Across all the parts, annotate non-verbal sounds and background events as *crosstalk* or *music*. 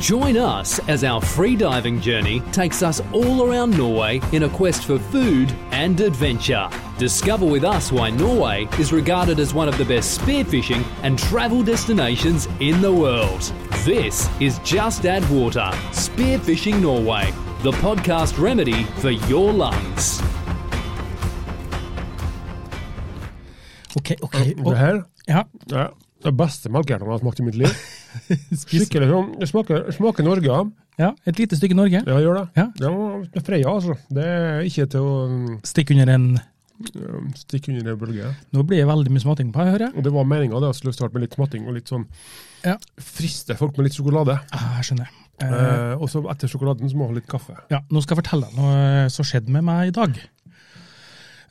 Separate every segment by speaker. Speaker 1: Join us as our free diving journey takes us all around Norway in a quest for food and adventure. Discover with us why Norway is regarded as one of the best spearfishing and travel destinations in the world. This is Just Add Water Spearfishing Norway, the podcast remedy for your lungs.
Speaker 2: OK, OK.
Speaker 3: Det
Speaker 2: Og,
Speaker 3: her
Speaker 2: ja.
Speaker 3: ja, det er beste melkehjertet jeg har smakt i mitt liv.
Speaker 2: *laughs* Spis.
Speaker 3: Skikkelig sånn, det smaker, smaker Norge. ja.
Speaker 2: ja. Et lite stykke Norge.
Speaker 3: Ja, gjør det.
Speaker 2: Ja.
Speaker 3: Det var- det er Freia, altså. Det er ikke til å
Speaker 2: Stikk under en
Speaker 3: um, stikke under en bølge.
Speaker 2: Nå blir det veldig mye småting på her, hører jeg.
Speaker 3: Og det var meninga at jeg skulle starte med litt smatting og litt sånn
Speaker 2: Ja.
Speaker 3: friste folk med litt sjokolade.
Speaker 2: Ah, jeg skjønner. Eh,
Speaker 3: Eh, og så etter sjokoladen så må jeg ha litt kaffe.
Speaker 2: Ja, nå skal jeg fortelle deg noe som skjedde med meg i dag.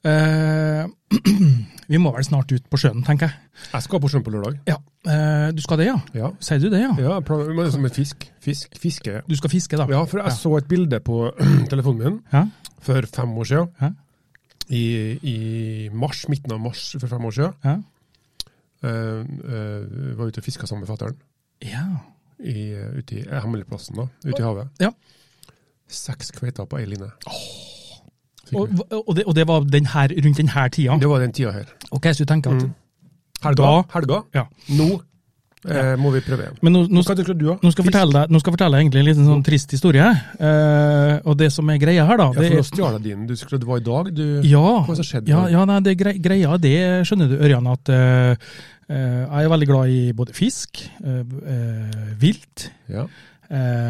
Speaker 2: Eh, *clears throat* vi må vel snart ut på sjøen, tenker jeg.
Speaker 3: Jeg skal på sjøen på lørdag.
Speaker 2: Ja, eh, Du skal det, ja?
Speaker 3: Ja.
Speaker 2: Sier du det, ja?
Speaker 3: ja jeg planer- men det er som med fisk. Fisk. Fiske.
Speaker 2: Du skal fiske, da?
Speaker 3: Ja, for jeg så et bilde på *clears throat* telefonen min
Speaker 2: Ja?
Speaker 3: for fem år siden.
Speaker 2: Ja?
Speaker 3: I, I mars, midten av mars for fem år siden.
Speaker 2: Ja?
Speaker 3: Eh, eh, var ute og fiska sammen med fatter'n.
Speaker 2: ja.
Speaker 3: i, eh, ute i eh, hemmeligplassen da, ute i havet.
Speaker 2: ja.
Speaker 3: Seks kveiter på ei line. Fikk
Speaker 2: Og, og, det, og det var den her, rundt denne tida?
Speaker 3: vi. Det var den tida her.
Speaker 2: Ok, så du tenker
Speaker 3: Mm.
Speaker 2: at
Speaker 3: Helga.
Speaker 2: Da-
Speaker 3: Helga.
Speaker 2: Ja.
Speaker 3: Nå eh, må vi prøve igjen.
Speaker 2: Men nå, nå,
Speaker 3: Hva tenker du da?
Speaker 2: nå, skal jeg fortelle deg, nå skal jeg fortelle deg egentlig en liten sånn trist historie. Eh, og det som er greia her, da
Speaker 3: Ja, for
Speaker 2: det
Speaker 3: nå
Speaker 2: er,
Speaker 3: stjal jeg din. Du skulle det var i dag, du.
Speaker 2: Ja,
Speaker 3: Hva som skjedde?
Speaker 2: ja, ja nei, det grei, greia det skjønner du, Ørjan, at eh, eh, jeg er veldig glad i både fisk, eh, eh, vilt,
Speaker 3: Ja.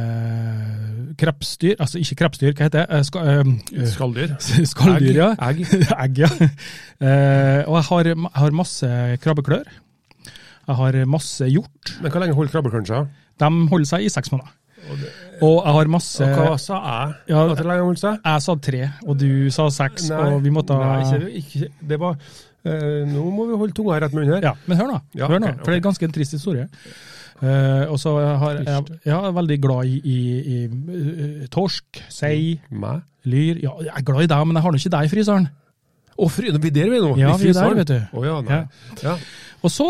Speaker 2: eh, krepsdyr Altså ikke krepsdyr, hva heter det? Eh, ska, eh, *laughs*
Speaker 3: Skalldyr.
Speaker 2: skalldyr, ja.
Speaker 3: Egg. Egg.
Speaker 2: Egg, ja. Eh, og jeg har, jeg har masse krabbeklør. Jeg har masse hjort.
Speaker 3: Men hvor lenge holder
Speaker 2: *laughs*
Speaker 3: krabbecruncha?
Speaker 2: De holder seg i seks måneder. Og jeg har masse
Speaker 3: Og hva sa jeg?
Speaker 2: Ja,
Speaker 3: At hvor lenge holder seg?
Speaker 2: Jeg sa tre, og du sa seks, og vi måtte
Speaker 3: nei, ikke, ikke, det var eh, Nå må vi holde tunga rett med munnen her.
Speaker 2: Ja, men hør nå,
Speaker 3: Ja,
Speaker 2: hør nå
Speaker 3: ok,
Speaker 2: for det er ganske en trist historie. Eh, og så har jeg, jeg, er veldig glad i, i, i eh, torsk, sei,
Speaker 3: Meg?
Speaker 2: lyr. Ja, jeg er glad i deg, men jeg har nå ikke deg i fryseren.
Speaker 3: Å, fry, vi er der vi er nå!
Speaker 2: Ja,
Speaker 3: I
Speaker 2: vi er der,
Speaker 3: fryseren.
Speaker 2: vet du.
Speaker 3: Å ja, nei.
Speaker 2: Ja.
Speaker 3: Ja.
Speaker 2: Og så,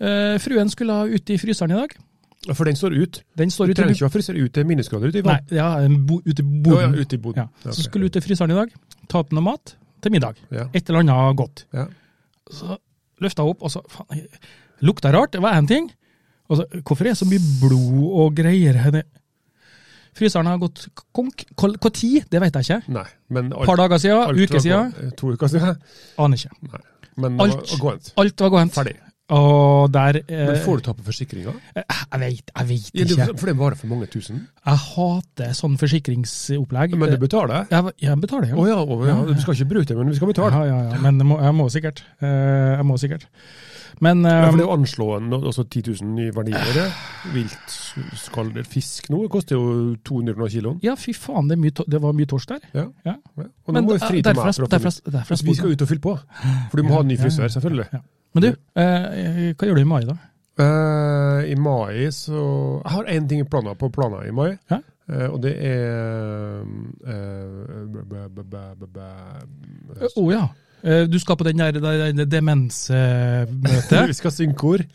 Speaker 2: eh, fruen skulle ha ute i fryseren i dag.
Speaker 3: For den står ut.
Speaker 2: Den står ute
Speaker 3: Du
Speaker 2: i
Speaker 3: trenger
Speaker 2: bu-
Speaker 3: ikke å fryse ut til minusgrader ute i
Speaker 2: Nei,
Speaker 3: vann.
Speaker 2: ja, en bo, ute i
Speaker 3: Å ja,
Speaker 2: boden.
Speaker 3: ute i boden.
Speaker 2: Ja,
Speaker 3: Ja,
Speaker 2: Så
Speaker 3: ok.
Speaker 2: skulle hun ut i fryseren i dag, ta opp noe mat til middag.
Speaker 3: Ja.
Speaker 2: Et eller annet godt.
Speaker 3: Ja.
Speaker 2: Så løfta hun opp, og så faen, jeg- lukta rart, det var én ting. Og så, hvorfor er det så mye blod og greier her? Det- Fryseren har gått konk. Kol- Hvor tid, det vet jeg ikke.
Speaker 3: Nei, men alt,
Speaker 2: Et par dager siden,
Speaker 3: alt
Speaker 2: uke
Speaker 3: var
Speaker 2: siden,
Speaker 3: gå- eh, To uker siden. *laughs*
Speaker 2: aner ikke.
Speaker 3: Nei. Men
Speaker 2: Alt.
Speaker 3: alt. Gåent.
Speaker 2: Alt var gåent.
Speaker 3: Ferdig.
Speaker 2: Og der eh,
Speaker 3: Men får du ta på forsikringa?
Speaker 2: Jeg vet, jeg vet
Speaker 3: Ja, det-
Speaker 2: ikke.
Speaker 3: for det varer for mange tusen.
Speaker 2: Jeg hater sånn forsikringsopplegg.
Speaker 3: Men du betaler?
Speaker 2: jeg, jeg betaler,
Speaker 3: Å
Speaker 2: ja.
Speaker 3: ja, å ja, du skal ikke bruke det, men vi skal betale.
Speaker 2: Ja, ja, ja. Men jeg må, jeg må sikkert. Eh, Jeg må sikkert. Men
Speaker 3: Ja,
Speaker 2: eh,
Speaker 3: for det å anslå en, altså 10 000 i verdier, vilt skalldyr, fisk nå, det koster jo 200 kroner kiloen.
Speaker 2: Ja, fy faen, det, er mye, to- det var mye torsk der.
Speaker 3: Ja.
Speaker 2: Ja.
Speaker 3: ja. Og nå
Speaker 2: Men eh,
Speaker 3: må vi
Speaker 2: da-
Speaker 3: fri til
Speaker 2: derfor
Speaker 3: meg.
Speaker 2: er-
Speaker 3: for å få
Speaker 2: derfor er-
Speaker 3: ut-
Speaker 2: derfor er
Speaker 3: Vi skal ut og fylle på. For du må ha en ny
Speaker 2: Ja,
Speaker 3: frisør,
Speaker 2: ja,
Speaker 3: selvfølgelig.
Speaker 2: ja. Men du, eh, hva gjør du i mai, da?
Speaker 3: Eh, I mai så Jeg har én ting i planer på planer i mai.
Speaker 2: Ja.
Speaker 3: Eh, og det er eh, b- b- b- b- b- b-
Speaker 2: Å ja. Eh, Du skal på den der, der, der demensmøtet.
Speaker 3: *laughs* Vi skal synge kor.
Speaker 2: *laughs*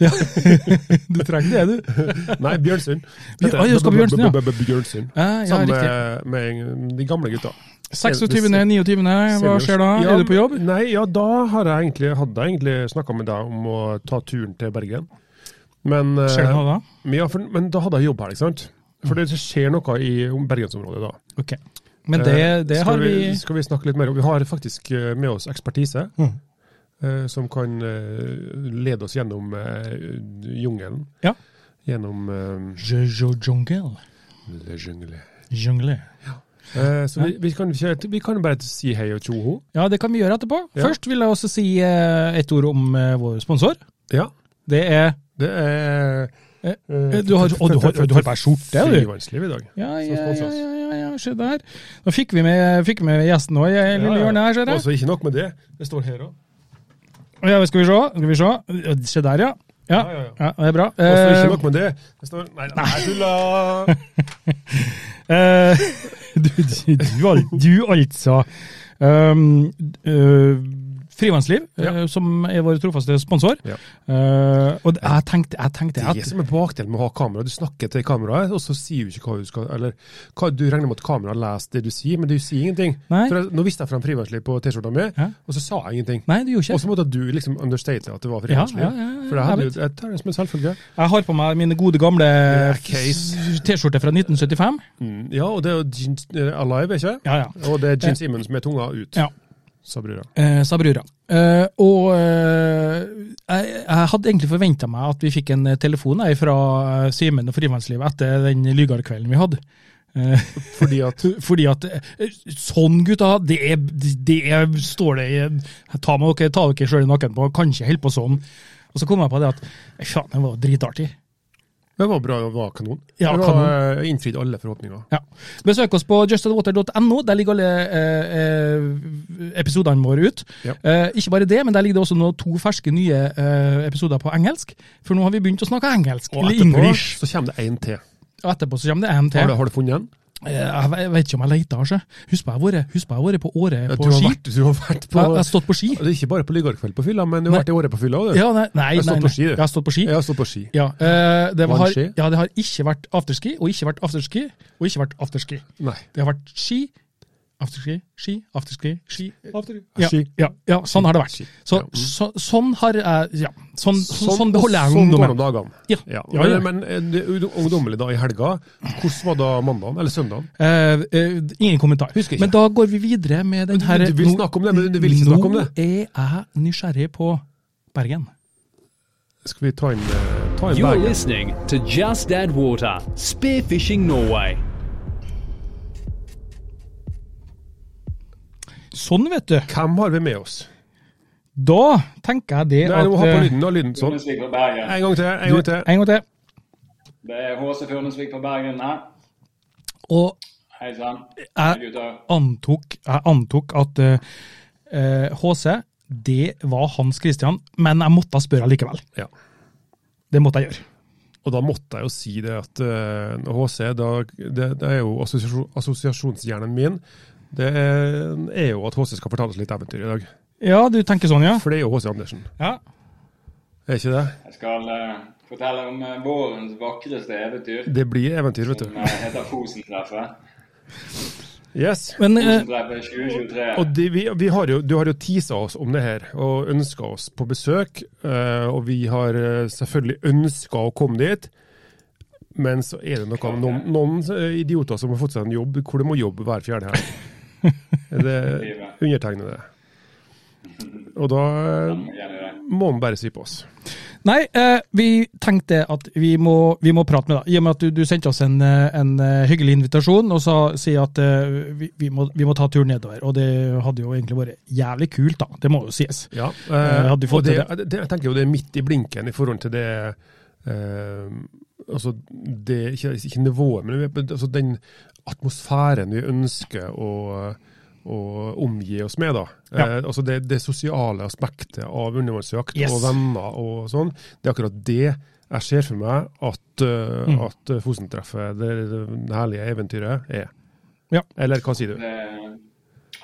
Speaker 2: du trenger det, *laughs* du.
Speaker 3: Nei, Bjørnsund.
Speaker 2: Vi-
Speaker 3: Heter
Speaker 2: Oi,
Speaker 3: det.
Speaker 2: du skal på Bjørnsund, ja.
Speaker 3: B- b- b- b- Bjørnsund.
Speaker 2: Ja, ja,
Speaker 3: Sammen
Speaker 2: riktig.
Speaker 3: med, med de gamle gutta.
Speaker 2: 26., 29., hva skjer da?
Speaker 3: Ja,
Speaker 2: Er du på jobb?
Speaker 3: Nei, ja, da har jeg egentlig, hadde jeg egentlig snakka med deg om å ta turen til Bergen. Men, eh,
Speaker 2: Skjer det noe da?
Speaker 3: men ja, for, men da hadde jeg jobb her, ikke sant? For det skjer noe i bergensområdet da.
Speaker 2: Ok. Men det, det
Speaker 3: Eh,
Speaker 2: har
Speaker 3: skal
Speaker 2: vi
Speaker 3: Skal vi snakke litt mer om Vi har faktisk eh, med oss ekspertise
Speaker 2: Mhm.
Speaker 3: eh, som kan eh, lede oss gjennom eh, jungelen.
Speaker 2: Ja.
Speaker 3: Gjennom eh,
Speaker 2: Jojo Jungle.
Speaker 3: le jungle.
Speaker 2: Jungle.
Speaker 3: Eh, så vi, vi, kan, kjøre- vi kan bare si hei og tjoho.
Speaker 2: Ja, det kan vi gjøre etterpå.
Speaker 3: Ja.
Speaker 2: Først vil jeg også si eh, et ord om eh, vår sponsor.
Speaker 3: Ja.
Speaker 2: Det er
Speaker 3: Det er
Speaker 2: Eh, du har- å, du har- du har bare skjorte, du.
Speaker 3: Frivannsliv i dag.
Speaker 2: Ja, ja,
Speaker 3: som
Speaker 2: ja,
Speaker 3: sponsor.
Speaker 2: ja, ja, ja se der. Nå fikk vi med, fikk vi med gjesten òg i det lille
Speaker 3: Ja, ja.
Speaker 2: hjørnet her, ser jeg.
Speaker 3: Også ikke nok med det. Det står her òg.
Speaker 2: Ja, skal vi se. Skal vi se. se der, ja. Ja,
Speaker 3: Ja, ja, ja.
Speaker 2: Eh, ja, det er bra.
Speaker 3: Også ikke
Speaker 2: Eh, *laughs*
Speaker 3: nok med det. Det står Nei, nei, jeg tuller!
Speaker 2: Eh, *laughs* du, du, du, al- du altså. Um, eh, Frivannsliv,
Speaker 3: Ja.
Speaker 2: eh, som er vår trofaste sponsor.
Speaker 3: Ja.
Speaker 2: Eh, og det- jeg tenkte, jeg tenkte
Speaker 3: Det
Speaker 2: at
Speaker 3: er det som er bakdelen med å ha kamera. Du snakker til kameraet, og så sier du ikke hva du skal Eller hva, du regner med at kameraet leser det du sier, men du sier ingenting.
Speaker 2: Nei.
Speaker 3: For jeg, nå viste jeg frem frivannsliv på T-skjorta mi,
Speaker 2: Ja.
Speaker 3: og så sa jeg ingenting.
Speaker 2: Nei, du gjorde
Speaker 3: Og
Speaker 2: ikke det.
Speaker 3: så måtte du liksom understate at det var
Speaker 2: Ja,
Speaker 3: frivannsliv.
Speaker 2: ja, ja, ja,
Speaker 3: For jeg, hadde,
Speaker 2: jeg,
Speaker 3: jo- jeg tar det som en selvfølge.
Speaker 2: jeg har på meg mine gode gamle
Speaker 3: case.
Speaker 2: T-skjorte fra 1975.
Speaker 3: Mm, ja, og det er jo jeans eh, alive, ikke
Speaker 2: Ja, ja.
Speaker 3: Og det er Jeans Immons med tunga ut,
Speaker 2: Ja.
Speaker 3: sa brura.
Speaker 2: Eh, sa brura. Eh, og eh, jeg, jeg hadde egentlig forventa meg at vi fikk en eh, telefon jeg, fra eh, Simen og Frivannslivet etter den lygarkvelden vi hadde. Eh,
Speaker 3: Fordi
Speaker 2: *laughs*
Speaker 3: at
Speaker 2: fordi at eh, Sånn, gutta! Det, er, det er, står det i- Ta med dere, ta dere sjøl naken på, kanskje holde på sånn. Og så kom jeg på det at Fy faen, det var dritartig.
Speaker 3: Det var bra, det var kanon.
Speaker 2: Ja,
Speaker 3: det var
Speaker 2: kanon.
Speaker 3: eh, innfridd alle forhåpninger.
Speaker 2: Ja. Besøk oss på justandwater.no. Der ligger alle eh, eh, episodene våre ut.
Speaker 3: Ja.
Speaker 2: Eh, ikke bare det, men der ligger det også nå to ferske nye eh, episoder på engelsk. For nå har vi begynt å snakke engelsk.
Speaker 3: Og
Speaker 2: eller
Speaker 3: etterpå
Speaker 2: English.
Speaker 3: så kommer det én til.
Speaker 2: Og etterpå så kommer det en
Speaker 3: Har
Speaker 2: til.
Speaker 3: du, har du funnet en?
Speaker 2: Eh, Jeg ve- jeg vet ikke om jeg leter, altså. Husk på jeg har vært- husk på jeg har vært på Åre
Speaker 3: Du
Speaker 2: på
Speaker 3: har
Speaker 2: ski.
Speaker 3: vært, du har vært på
Speaker 2: Jeg jeg har stått på ski.
Speaker 3: Det er Ikke bare på Lygarkveld på fylla, men du
Speaker 2: Nei.
Speaker 3: har vært i året på fylla òg, du.
Speaker 2: Ja, nei, nei,
Speaker 3: Jeg
Speaker 2: nei,
Speaker 3: har stått på
Speaker 2: nei.
Speaker 3: ski, du.
Speaker 2: Jeg har stått på ski.
Speaker 3: Jeg har stått på ski.
Speaker 2: Ja, eh, det,
Speaker 3: Var
Speaker 2: har,
Speaker 3: det ski?
Speaker 2: ja, det har ikke vært afterski, og ikke vært afterski, og ikke vært afterski.
Speaker 3: Nei.
Speaker 2: Det har vært ski, afterski, ski, afterski, ski, afterski.
Speaker 3: Ja,
Speaker 2: Ja,
Speaker 3: ski.
Speaker 2: ja, ja sånn har det vært.
Speaker 3: Ski.
Speaker 2: Så,
Speaker 3: Ja.
Speaker 2: så, sånn har jeg ja, sånn, sånn, sånn beholder jeg
Speaker 3: sånn går
Speaker 2: ungdommen.
Speaker 3: de dagene.
Speaker 2: Ja.
Speaker 3: Ja.
Speaker 2: Ja, ja.
Speaker 3: Men, men eh, det er ungdommelig da i helga, hvordan var da mandagen? Eller søndagen?
Speaker 2: Eh, eh, ingen kommentar.
Speaker 3: Husker ikke.
Speaker 2: Men da går vi videre med den her
Speaker 3: Du, du vil snakke om det, men du vil ikke
Speaker 2: Nå
Speaker 3: snakke om det.
Speaker 2: er jeg nysgjerrig på Bergen.
Speaker 3: Skal vi ta inn, eh, ta inn
Speaker 1: You're
Speaker 3: Bergen?
Speaker 1: listening to Just Add Water, Spearfishing Norway.
Speaker 2: Sånn, vet du.
Speaker 3: Hvem har vi med oss?
Speaker 2: Da tenker jeg det
Speaker 3: Nei,
Speaker 2: at
Speaker 3: nå ha på
Speaker 2: eh,
Speaker 3: lyden, da, lyden sånn.
Speaker 4: Furnesvik på Bergen.
Speaker 3: En gang til, en gang til.
Speaker 2: En gang til.
Speaker 4: Det er HC Furnesvik på Bergen her.
Speaker 2: Og
Speaker 4: Hei sann. Hei,
Speaker 2: jeg
Speaker 4: gutter.
Speaker 2: antok, jeg antok at eh, eh, HC, det var Hans Christian, men jeg måtte spørre likevel.
Speaker 3: Ja.
Speaker 2: Det måtte jeg gjøre.
Speaker 3: Og da måtte jeg jo si det at eh, HC, da, det, det er jo assosiasjon, assosiasjonshjernen min. Det er, er jo at HC skal fortelle oss litt eventyr i dag.
Speaker 2: Ja, du tenker sånn, ja?
Speaker 3: For det er jo HC Andersen,
Speaker 2: Ja.
Speaker 3: er ikke det?
Speaker 4: Jeg skal eh, fortelle om eh, vårens vakreste eventyr,
Speaker 3: Det blir eventyr, vet
Speaker 4: som
Speaker 3: du.
Speaker 4: eh, heter Fosentreffet.
Speaker 3: Yes.
Speaker 2: Men eh,
Speaker 4: Fosentreffet 2023.
Speaker 3: Eh, Og de, vi, vi har jo, du har jo teasa oss om det her, og ønska oss på besøk. eh, og vi har eh, selvfølgelig ønska å komme dit. Men så er det noe, noen, noen eh, idioter som har fått seg en jobb hvor de må jobbe hver fjerde helg. Er Det undertegnede. Og da eh,
Speaker 4: Gjerne det.
Speaker 3: må han bare si på oss.
Speaker 2: Nei, eh, vi tenkte at vi må, vi må prate med deg. I og med at du, du sendte oss en, eh, en eh, hyggelig invitasjon og sa si at eh, vi, vi, må, vi må ta turen nedover. Og det hadde jo egentlig vært jævlig kult, da. Det må jo sies.
Speaker 3: Ja,
Speaker 2: Eh, hadde vi fått
Speaker 3: og det,
Speaker 2: til
Speaker 3: det. Jeg tenker jo det er midt i blinken i forhold til det eh, Altså, det er ikke, ikke nivået, men vi- altså den atmosfæren vi ønsker å, å omgi oss med. da.
Speaker 2: Ja.
Speaker 3: Eh, altså det, det sosiale aspektet av undervannsjakt
Speaker 2: Yes.
Speaker 3: og venner og sånn, det er akkurat det jeg ser for meg at, eh,
Speaker 2: Mm.
Speaker 3: at Fosentreffet, det, det herlige eventyret, er.
Speaker 2: Ja.
Speaker 3: Eller hva sier du?
Speaker 4: Det er Eh,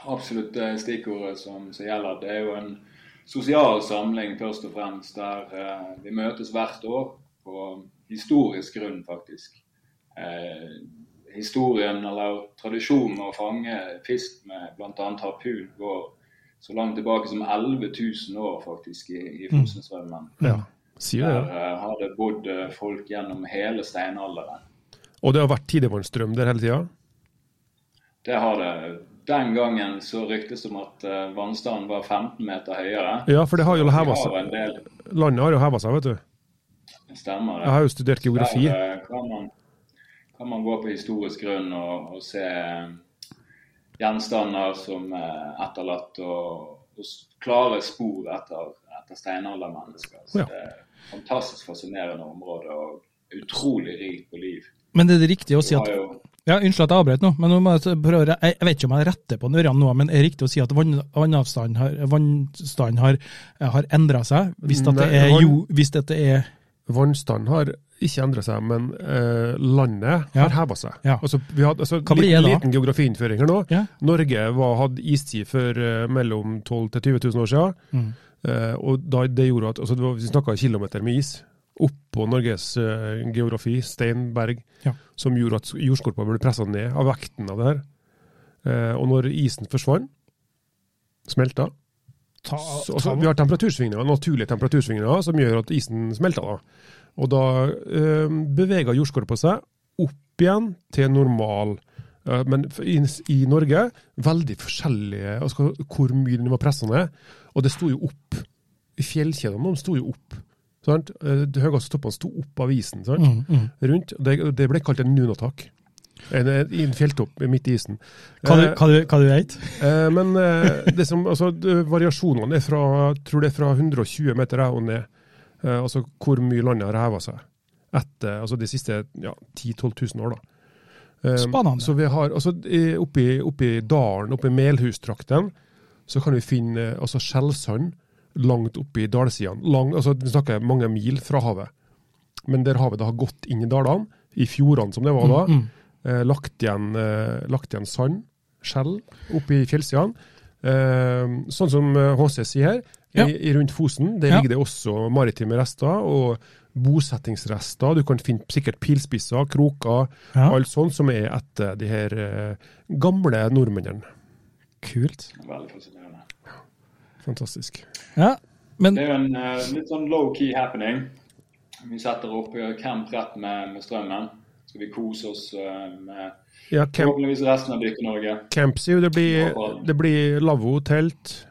Speaker 4: absolutt det stikkordet som, som gjelder. Det er jo en sosial samling først og fremst, der eh, vi møtes hvert år på historisk grunn, faktisk. Eh, historien eller tradisjonen med å fange fisk med bl.a. harpun går så langt tilbake som 11 000 år faktisk i, i Fosenstrømmen.
Speaker 3: Ja. Sier
Speaker 4: Der
Speaker 3: det, Mm. ja.
Speaker 4: eh, har det bodd eh, folk gjennom hele steinalderen.
Speaker 3: Og det har vært tidevannsstrøm der hele tida?
Speaker 4: Det har det. Den gangen så ryktes det om at eh, vannstanden var 15 meter høyere.
Speaker 3: Ja, for det har jo
Speaker 4: Vi
Speaker 3: heva
Speaker 4: har
Speaker 3: seg.
Speaker 4: en del
Speaker 3: Landet har jo heva seg, vet du.
Speaker 4: stemmer.
Speaker 3: Jeg har jo studert geografi.
Speaker 4: Der eh, kan man, kan man gå på historisk grunn og, og se eh, gjenstander som er etterlatt, og, og s- klare spor etter, etter steinaldermennesker. Så
Speaker 3: Ja.
Speaker 4: det er et fantastisk fascinerende område og utrolig rikt på liv.
Speaker 2: Men er det riktig å
Speaker 4: Vi
Speaker 2: si at
Speaker 4: har jo
Speaker 2: Ja, Unnskyld at jeg avbrøt nå, men nå må jeg prøve, å re- jeg jeg vet ikke om jeg retter på Ørjan nå, men er det riktig å si at vann- vannavstanden har, vannstanden har, har endra seg? Hvis, at det
Speaker 3: Nei,
Speaker 2: er,
Speaker 3: vann-
Speaker 2: jo, hvis at det er
Speaker 3: Vannstanden har ikke endra seg, men eh, landet
Speaker 2: Ja.
Speaker 3: har heva seg.
Speaker 2: Ja.
Speaker 3: Altså, vi hadde, altså,
Speaker 2: Hva blir
Speaker 3: liten,
Speaker 2: det da?
Speaker 3: liten geografiinnføring her nå.
Speaker 2: Ja.
Speaker 3: Norge var, hadde istid for eh, mellom 12 000 til 20 000 år siden.
Speaker 2: Mm.
Speaker 3: Eh, og da, det gjorde at altså, det var, Vi snakka kilometer med is oppå Norges eh, geografi, stein, berg,
Speaker 2: Ja.
Speaker 3: som gjorde at jordskorpa ble pressa ned av vekten av det her. Eh, og når isen forsvant, smelta,
Speaker 2: Ta,
Speaker 3: så, altså, vi har temperatursvingninger, naturlige temperatursvingninger som gjør at isen smelter. Da. Og da eh, beveger jordskorpa seg opp igjen til normal. Eh, men f- i, i Norge veldig forskjellige altså, hvor mye den var pressa ned. Og det sto jo opp. Fjellkjedene de sto jo opp. Sant? Eh, De høyeste toppene sto opp av isen sant?
Speaker 2: Mm, mm.
Speaker 3: rundt. Det, det ble kalt en nunatak. En, en, en fjelltopp midt i isen.
Speaker 2: Hva, du,
Speaker 3: Eh,
Speaker 2: hva, du, hva du vet?
Speaker 3: Eh, men eh, det som, altså, d- variasjonene er fra, jeg tror det er fra 120 meter her og ned. Eh, altså hvor mye landet har heva seg etter altså, de siste ja, 10 000-12 000 år. Da. Eh,
Speaker 2: Spennende.
Speaker 3: Så vi har, altså, i- oppi, oppi dalen, oppi Melhustrakten, så kan vi finne eh, altså, skjellsand langt oppi dalsidene. Lang, altså, vi snakker mange mil fra havet. Men der havet da har gått inn i dalene, i fjordene som det var
Speaker 2: Mm,
Speaker 3: da, eh, lagt, igjen, eh, lagt igjen sand, skjell, oppi fjellsidene. Eh, sånn som eh, HC sier her, i,
Speaker 2: Ja.
Speaker 3: i rundt Fosen, der
Speaker 2: Ja.
Speaker 3: ligger det også maritime rester og bosettingsrester. Du kan finne sikkert pilspisser, kroker,
Speaker 2: Ja.
Speaker 3: alt sånt som er etter de her eh, gamle nordmennene.
Speaker 2: Kult.
Speaker 4: Veldig fascinerende.
Speaker 3: Fantastisk.
Speaker 2: Ja, men
Speaker 4: Det er jo en eh, litt sånn low-key happening. Vi setter opp eh, camp rett med, med strømmen. Skal vi kose oss eh, med
Speaker 3: Ja, camp,
Speaker 4: forhåpentligvis resten av Dykke-Norge.
Speaker 3: campsy, det blir, det blir lavvo, telt.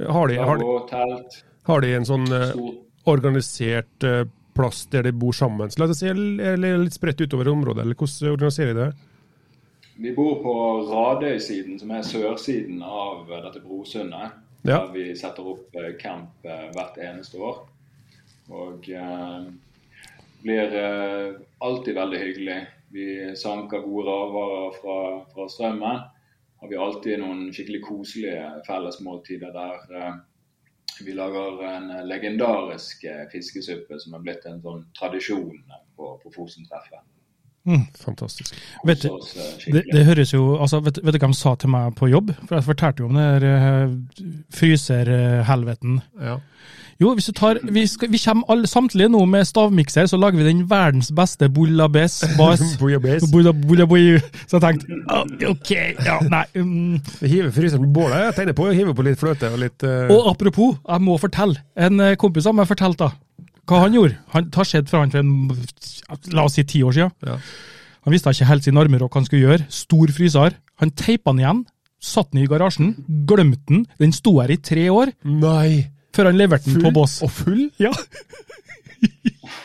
Speaker 3: Har de, har, de-
Speaker 4: Og telt.
Speaker 3: har de en sånn eh,
Speaker 4: Stor
Speaker 3: organisert eh, plass der de bor sammen? Så La oss si, eller eller litt spredt utover området, eller hvordan organiserer de det?
Speaker 4: Vi bor på Radøysiden, som er sørsiden av eh, dette brosundet.
Speaker 3: Ja.
Speaker 4: Der vi setter opp eh, camp eh, hvert eneste år. Og eh, blir eh, alltid veldig hyggelig. Vi sanker gode råvarer fra, fra strømmen. Har vi alltid noen skikkelig koselige fellesmåltider der eh, vi lager en legendarisk eh, fiskesuppe som er blitt en sånn tradisjon på, på Fosen-treffet.
Speaker 3: Fantastisk.
Speaker 2: vet du
Speaker 4: Så, så
Speaker 2: det,
Speaker 4: skikkelig.
Speaker 2: det høres jo altså, vet, vet du hva de sa til meg på jobb? For jeg fortalte jo om den der eh, fryserhelveten.
Speaker 3: Ja.
Speaker 2: Jo, hvis du tar, vi, skal, vi kommer alle samtlige nå med stavmikser, så lager vi den verdens beste bouillabaisse. bas.
Speaker 3: Bouillabaisse.
Speaker 2: Bouilla- bouillaboui. Så jeg tenkte «Ah, OK, ja, nei mm.
Speaker 3: Jeg hiver fryseren på bålet. Jeg tegner på å hive på litt fløte og litt eh,
Speaker 2: Og apropos, jeg må fortelle. En eh, kompis av meg fortalte da, hva han gjorde. Han har skjedd fra han for en, la oss si ti år siden.
Speaker 3: Ja.
Speaker 2: Han visste ikke helt sin armer og hva han skulle gjøre. Stor fryser. Han teipa den igjen, satt den i garasjen, glemte den. Den sto her i tre år,
Speaker 3: Nei!
Speaker 2: før han leverte den
Speaker 3: Full
Speaker 2: på boss.
Speaker 3: og full?
Speaker 2: Ja,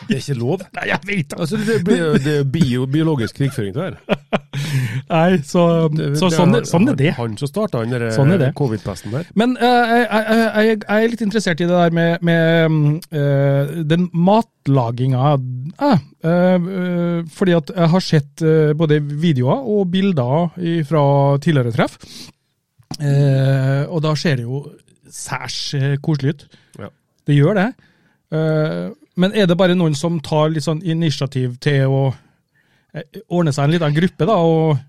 Speaker 3: Det er ikke lov.
Speaker 2: nei, jeg vet det!
Speaker 3: Altså, det blir jo det er bio, biologisk krigføring, det her.
Speaker 2: Nei, så,
Speaker 3: Det-
Speaker 2: så
Speaker 3: det
Speaker 2: sånn,
Speaker 3: er-
Speaker 2: er- sånn er det.
Speaker 3: Han som starta den der, eh,
Speaker 2: Sånn er det.
Speaker 3: covid-pesten der.
Speaker 2: Men eh, jeg, jeg, jeg, jeg er litt interessert i det der med, med mm, eh, den matlaginga. Eh, eh, eh, fordi at jeg har sett eh, både videoer og bilder fra tidligere treff. Eh, og da ser det jo særs eh, koselig ut.
Speaker 3: Ja.
Speaker 2: Det gjør det. Eh, men er det bare noen som tar litt sånn initiativ til å eh, ordne seg en liten gruppe, da? og...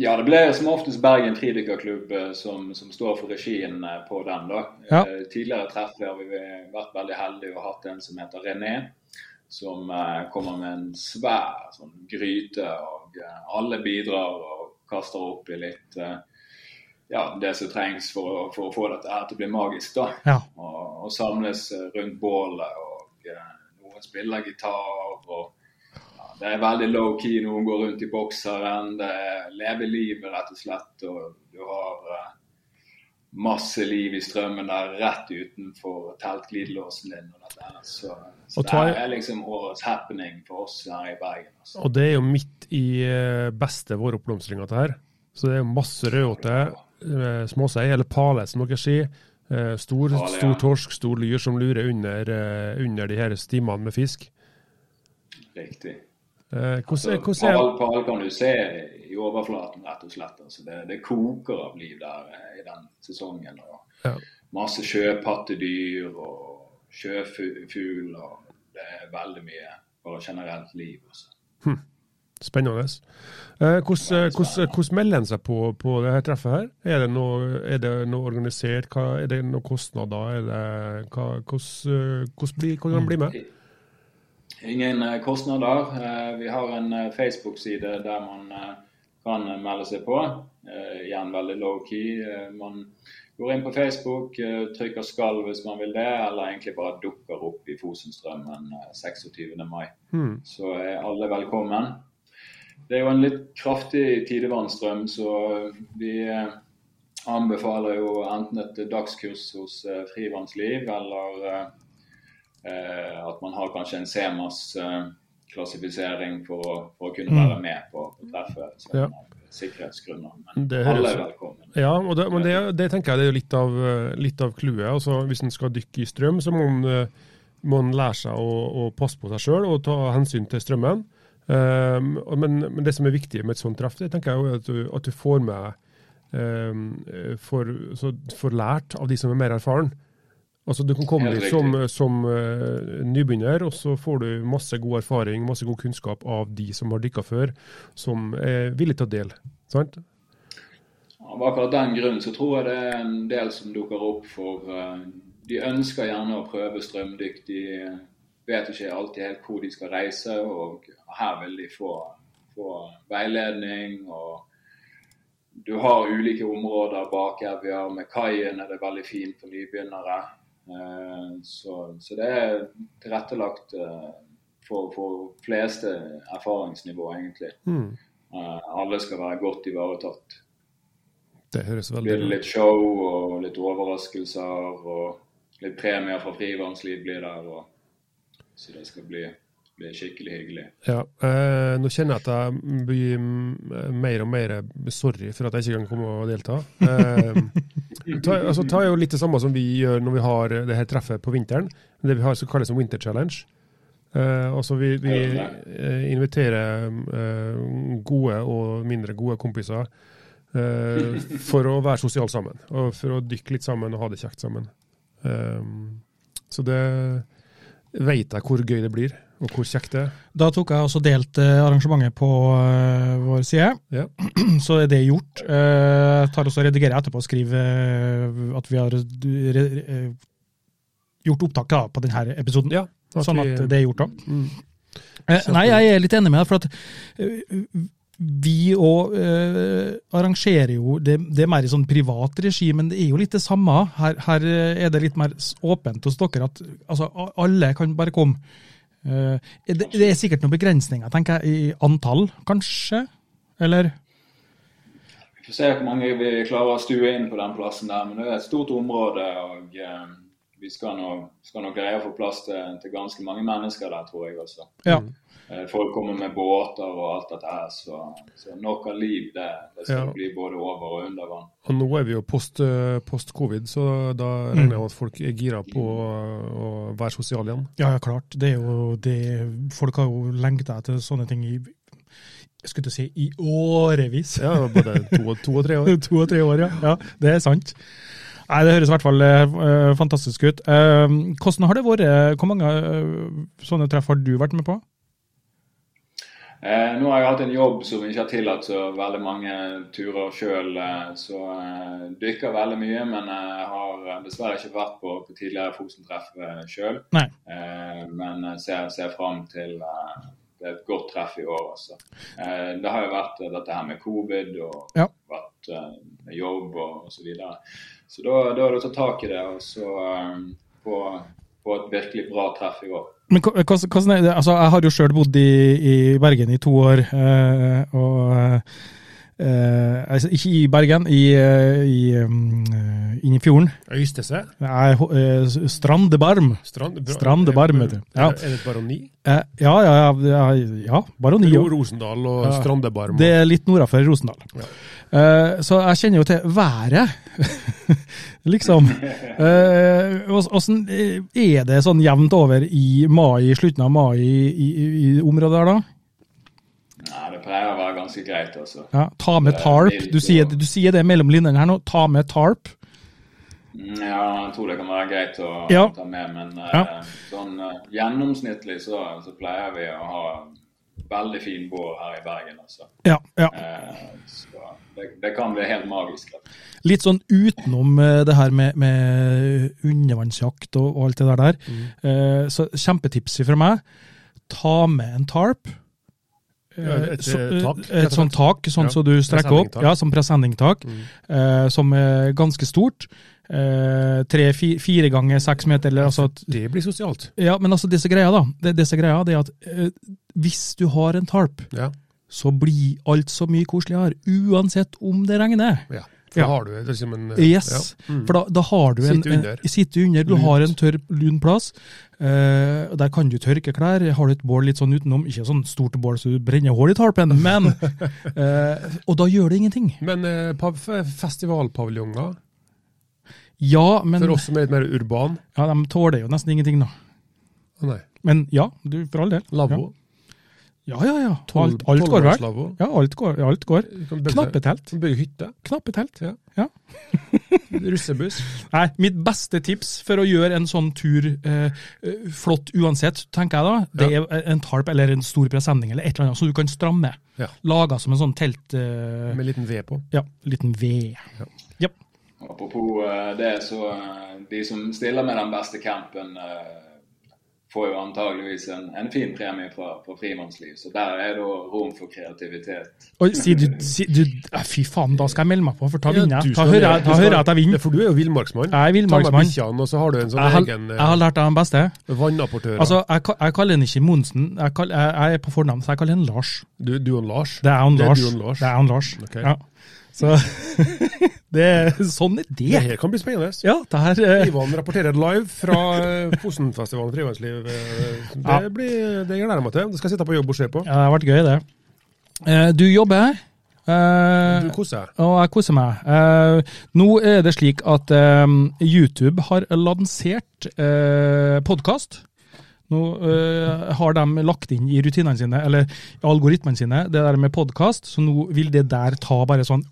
Speaker 4: Ja, det ble som oftest Bergen fridykkerklubb eh, som, som står for regien eh, på den. da.
Speaker 2: Ja.
Speaker 4: Eh, Tidligere treff har vi vært veldig heldige og hatt en som heter René, som eh, kommer med en svær sånn, gryte. og eh, Alle bidrar og kaster opp i litt eh, ja, det som trengs for, å- for å få dette her til å bli magisk. da.
Speaker 2: Ja.
Speaker 4: Og, og samles eh, rundt bålet, og eh, noen spiller gitar. og ja, det er veldig low key. Noen går rundt i bokseren. Det er leve livet, rett og slett. Og du har eh, masse liv i strømmen der rett utenfor teltglidelåsen din. og dette her. Så, så
Speaker 3: Og tar-
Speaker 4: det er liksom årets happening for oss her i Bergen. Altså.
Speaker 3: Og det er jo midt i eh, beste våroppblomstringa til her. Så det er jo masse rødåte, eh, småsei, eller pale som dere sier. Eh, Stor,
Speaker 4: Pale, ja.
Speaker 3: stor torsk, stor lyr som lurer under, eh, under de her stimene med fisk.
Speaker 4: Riktig.
Speaker 3: Eh,
Speaker 4: Altså,
Speaker 3: Hvordan er- hvordan er
Speaker 4: Pall pall kan du se i overflaten, rett og slett. Altså, det, det koker av liv der eh, i den sesongen. og
Speaker 3: Ja.
Speaker 4: Masse sjøpattedyr og sjøfugl. og Det er veldig mye bare generelt liv. altså. Også.
Speaker 3: Spennende. Eh, Hvordan hvordan- hvordan melder en seg på, på det her treffet her? Er det noe, er det noe organisert? Hva, er det noen kostnader? Er det, hva, hvordan, eh, hvordan blir, hvordan blir med?
Speaker 4: Ingen eh, kostnader. Eh, Vi har en eh, Facebook-side der man eh, kan melde seg på. Eh, Igjen veldig low-key. Eh, Man går inn på Facebook, eh, trykker 'skall' hvis man vil det, eller egentlig bare dukker opp i Fosenstrømmen eh, 26. mai.
Speaker 3: Hmm.
Speaker 4: Så er alle velkommen. Det er jo en litt kraftig tidevannsstrøm, så vi eh, anbefaler jo enten et dagskurs hos eh, Frivannsliv, eller eh, eh, at man har kanskje en CMAS-klassifisering for, å- for å kunne være med på, på treffet. Så,
Speaker 3: Mm. Ja.
Speaker 4: Sikkerhetsgrunner.
Speaker 3: Det
Speaker 4: Men
Speaker 3: høres-
Speaker 4: alle er velkommen.
Speaker 3: Ja, og det, men det, det tenker jeg det er jo litt av, eh, litt av clouet. Altså, hvis en skal dykke i strøm, så må en, eh, må en lære seg å, å passe på seg sjøl og ta hensyn til strømmen. Ehm, og- men, men det som er viktig med et sånt treff, det tenker jeg jo er at du, at du får med ehm, eh, får, så, får lært av de som er mer erfaren. Altså, du kan komme
Speaker 4: Helt
Speaker 3: dit som, som eh, nybegynner, og så får du masse god erfaring, masse god kunnskap av de som har dykka før, som er villige til å dele. Sant?
Speaker 4: Av akkurat den grunn så tror jeg det er en del som dukker opp for eh, De ønsker gjerne å prøve strømdykk. De eh, vet ikke alltid helt hvor de skal reise, og her vil de få, få veiledning. og Du har ulike områder bak Evja. Med kaien er det veldig fint for nybegynnere. Eh, Så, så det er tilrettelagt eh, for, for fleste erfaringsnivå, egentlig.
Speaker 3: Hmm.
Speaker 4: Eh, Alle skal være godt ivaretatt
Speaker 3: Det høres veldig
Speaker 4: blir det litt show og litt overraskelser og litt premier fra frivannsliv blir der. Og, så det skal bli, bli skikkelig hyggelig.
Speaker 3: Ja, eh, nå kjenner jeg at jeg blir mm, mer og mer sorry for at jeg ikke kan komme og delta. Eh, ta, altså, ta er jo litt det samme som vi gjør når vi har det her treffet på vinteren. Det vi har som kalles som winter challenge. Eh, altså vi, vi eh, inviterer eh, gode og mindre gode kompiser eh, for å være sosiale sammen. Og for å dykke litt sammen og ha det kjekt sammen. Eh, så det veit jeg hvor gøy det blir, og hvor kjekt det er.
Speaker 2: Da tok jeg også delt eh, arrangementet på eh, vår side,
Speaker 3: Ja.
Speaker 2: *clears throat* så er det gjort. Eh, tar også og redigerer etterpå og skriver eh, at vi har du- re, eh, gjort opptaket da, på denne episoden.
Speaker 3: Ja, at
Speaker 2: sånn
Speaker 3: vi-
Speaker 2: at det er gjort da.
Speaker 3: Mm.
Speaker 2: Eh, nei, jeg er litt enig med deg, for at eh, vi òg eh, arrangerer jo det, det er mer i sånn privat regi, men det er jo litt det samme. Her, her eh, er det litt mer s- åpent hos dere, at altså, a- alle kan bare komme. Eh, det, det er sikkert noen begrensninger, tenker jeg, i antall, kanskje? Eller?
Speaker 4: Vi får se hvor mange vi klarer å stue inn på den plassen der, men det er et stort område. og eh, Vi skal nå, skal nå greie å få plass til, til ganske mange mennesker der, tror jeg også.
Speaker 2: Ja.
Speaker 4: Eh, Folk kommer med båter og alt dette her, så, så nok av liv det, det skal
Speaker 3: Ja.
Speaker 4: bli både over og under vann.
Speaker 3: Og nå er vi jo post, eh, post covid, så da
Speaker 2: Mm.
Speaker 3: regner jeg med at folk er gira på å å være sosiale igjen.
Speaker 2: Ja, ja, klart. Det er jo det Folk har jo lengta etter sånne ting i Jeg skulle til å si i årevis.
Speaker 3: Ja, både to, og- to og tre år.
Speaker 2: *laughs* To og tre år, ja. ja. Det er sant. Nei, Det høres i hvert fall eh, eh, fantastisk ut. Eh, hvordan har det vært? Hvor mange eh, sånne treff har du vært med på?
Speaker 4: Eh, nå har jeg hatt en jobb som ikke har tillatt så veldig mange turer sjøl, eh, så eh, dykker veldig mye. Men jeg har eh, dessverre ikke vært på, på tidligere Fosen-treff eh, sjøl.
Speaker 2: Nei.
Speaker 4: Eh, men jeg ser, ser fram til eh, det er et godt treff i år, altså. Eh, det har jo vært eh, dette her med covid og
Speaker 2: Ja.
Speaker 4: vært eh, med jobb og osv. Så, videre. så da, da er det å ta tak i det og så eh, få, få et virkelig bra treff i år.
Speaker 2: Men hva- hvordan hvordan er det? Altså, jeg har jo sjøl bodd i, i Bergen i to år, eh, og eh, altså, Ikke i Bergen, i, eh, i, um, eh, inn i fjorden.
Speaker 3: Øystese.
Speaker 2: Jeg er ho- eh, s- Strandebarm.
Speaker 3: Strand,
Speaker 2: Strandebarm, vet du. Ja.
Speaker 3: Er det et baroni?
Speaker 2: Eh, Ja, ja, ja, ja, ja Baroni.
Speaker 3: Jo,
Speaker 2: jo.
Speaker 3: Rosendal og
Speaker 2: Ja.
Speaker 3: Strandebarm.
Speaker 2: Det er litt nordafor Rosendal. Eh, så jeg kjenner jo til været, *laughs* liksom. Eh, og- Åssen eh, er det sånn jevnt over i mai, i slutten av mai i, i, i området der, da?
Speaker 4: Nei, det pleier å være ganske greit, altså.
Speaker 2: Ja, ta med tarp. Du sier, du sier det mellom linjene her nå. Ta med tarp.
Speaker 4: Mm, Ja, jeg tror det kan være greit å
Speaker 2: Ja.
Speaker 4: ta med, men eh,
Speaker 2: Ja.
Speaker 4: sånn eh, gjennomsnittlig så, så pleier vi å ha veldig fin vår her i Bergen, altså.
Speaker 2: Ja, ja.
Speaker 4: Eh, så det, det kan bli helt magisk. rett og slett.
Speaker 2: Litt sånn utenom eh, det her med, med undervannsjakt og, og alt det der der.
Speaker 3: Mm.
Speaker 2: Eh, Så kjempetipset fra meg, ta med en tarp. Eh,
Speaker 3: Ja, et, eh,
Speaker 2: så- eh,
Speaker 3: tak, rett
Speaker 2: et
Speaker 3: og
Speaker 2: sånt tak, sånn
Speaker 3: Ja, Mm.
Speaker 2: som du strekker opp.
Speaker 3: presenningstak.
Speaker 2: Ja, som presenningstak. eh, Som er ganske stort. eh, Tre, fi- fire ganger seks meter, eller altså at
Speaker 3: Det blir sosialt.
Speaker 2: Ja, men altså, disse greia, da. Det, disse greia, det er at eh, hvis du har en tarp,
Speaker 3: Ja.
Speaker 2: så blir alt så mye koseligere. Uansett om det regner.
Speaker 3: ja. For
Speaker 2: Ja.
Speaker 3: Da har du liksom en eh,
Speaker 2: Yes, for da, da har du en
Speaker 3: Sitte under.
Speaker 2: en- sitte under, du har en tørr, lun plass. eh, og der kan du tørke klær. Har du et bål litt sånn utenom, ikke sånn stort bål så du brenner hull i tarpen, men
Speaker 3: *laughs*
Speaker 2: eh, Og da gjør det ingenting.
Speaker 3: ja. Men eh, pav- f- festivalpaviljonger,
Speaker 2: Ja, men
Speaker 3: for oss som er litt mer urban
Speaker 2: ja, de tåler jo nesten ingenting, da.
Speaker 3: Å nei.
Speaker 2: Men ja, du, for all del.
Speaker 3: Lavvo.
Speaker 2: Ja, ja, ja. ja.
Speaker 3: Tolv-
Speaker 2: Alt, alt går vel.
Speaker 3: tolvmannslavvo.
Speaker 2: Ja, alt går. Alt går.
Speaker 3: Du kan bygge-
Speaker 2: Knappetelt.
Speaker 3: du kan Bygge hytte.
Speaker 2: Knappetelt.
Speaker 3: Ja.
Speaker 2: Ja.
Speaker 3: Russebuss.
Speaker 2: Nei, mitt beste tips for å gjøre en sånn tur eh, eh, flott uansett, tenker jeg da, det er en tarp eller en stor presenning eller et eller annet, så du kan stramme.
Speaker 3: Ja.
Speaker 2: Laga som en sånn telt... Eh,
Speaker 3: Med liten ved på.
Speaker 2: ja, liten ved. Ja.
Speaker 4: Og Apropos eh, det, så eh, de som stiller med den beste campen, eh, får jo antageligvis en, en fin premie fra, fra Frimannsliv. Så der er det også rom for kreativitet.
Speaker 2: Oi, si du, si, du eh, Fy faen, da skal jeg melde meg på, for da vinner
Speaker 3: du
Speaker 2: jeg. Da
Speaker 3: skal-
Speaker 2: hører jeg,
Speaker 3: du
Speaker 2: da
Speaker 3: skal-
Speaker 2: hører jeg at jeg
Speaker 3: Ja,
Speaker 2: vinner.
Speaker 3: For du er jo villmarksmann.
Speaker 2: Jeg er
Speaker 3: Ta med
Speaker 2: villmarksmann.
Speaker 3: bikkjene, og så har du en sånn
Speaker 2: Jeg har,
Speaker 3: egen
Speaker 2: jeg har lært deg den beste.
Speaker 3: eh, vannapportør.
Speaker 2: Altså, jeg, ka- jeg kaller den ikke Monsen, jeg, kall- jeg, jeg er på fornavn, så jeg kaller den Lars.
Speaker 3: du, du og Lars.
Speaker 2: Det er han
Speaker 3: Det er
Speaker 2: Lars.
Speaker 3: du og Lars.
Speaker 2: Det er han Lars.
Speaker 3: Ok.
Speaker 2: Ja. Så *laughs* det, er- sånn er
Speaker 3: Det
Speaker 2: det.
Speaker 3: her kan bli spennende.
Speaker 2: Ja, det her eh,
Speaker 3: Ivan rapporterer live fra eh, Fosenfestivalen Frivannsliv. eh, Det,
Speaker 2: Ja.
Speaker 3: blir, det gleder jeg meg til. Det skal jeg sitte på jobb og se på.
Speaker 2: Ja, det har vært gøy, det. Eh, Du jobber, eh,
Speaker 3: Du koser deg.
Speaker 2: og jeg koser meg. Eh, Nå er det slik at eh, YouTube har lansert podkast. Nå eh, har de lagt inn i rutinene sine, eller i algoritmene sine, det der med podkast, så nå vil det der ta bare sånn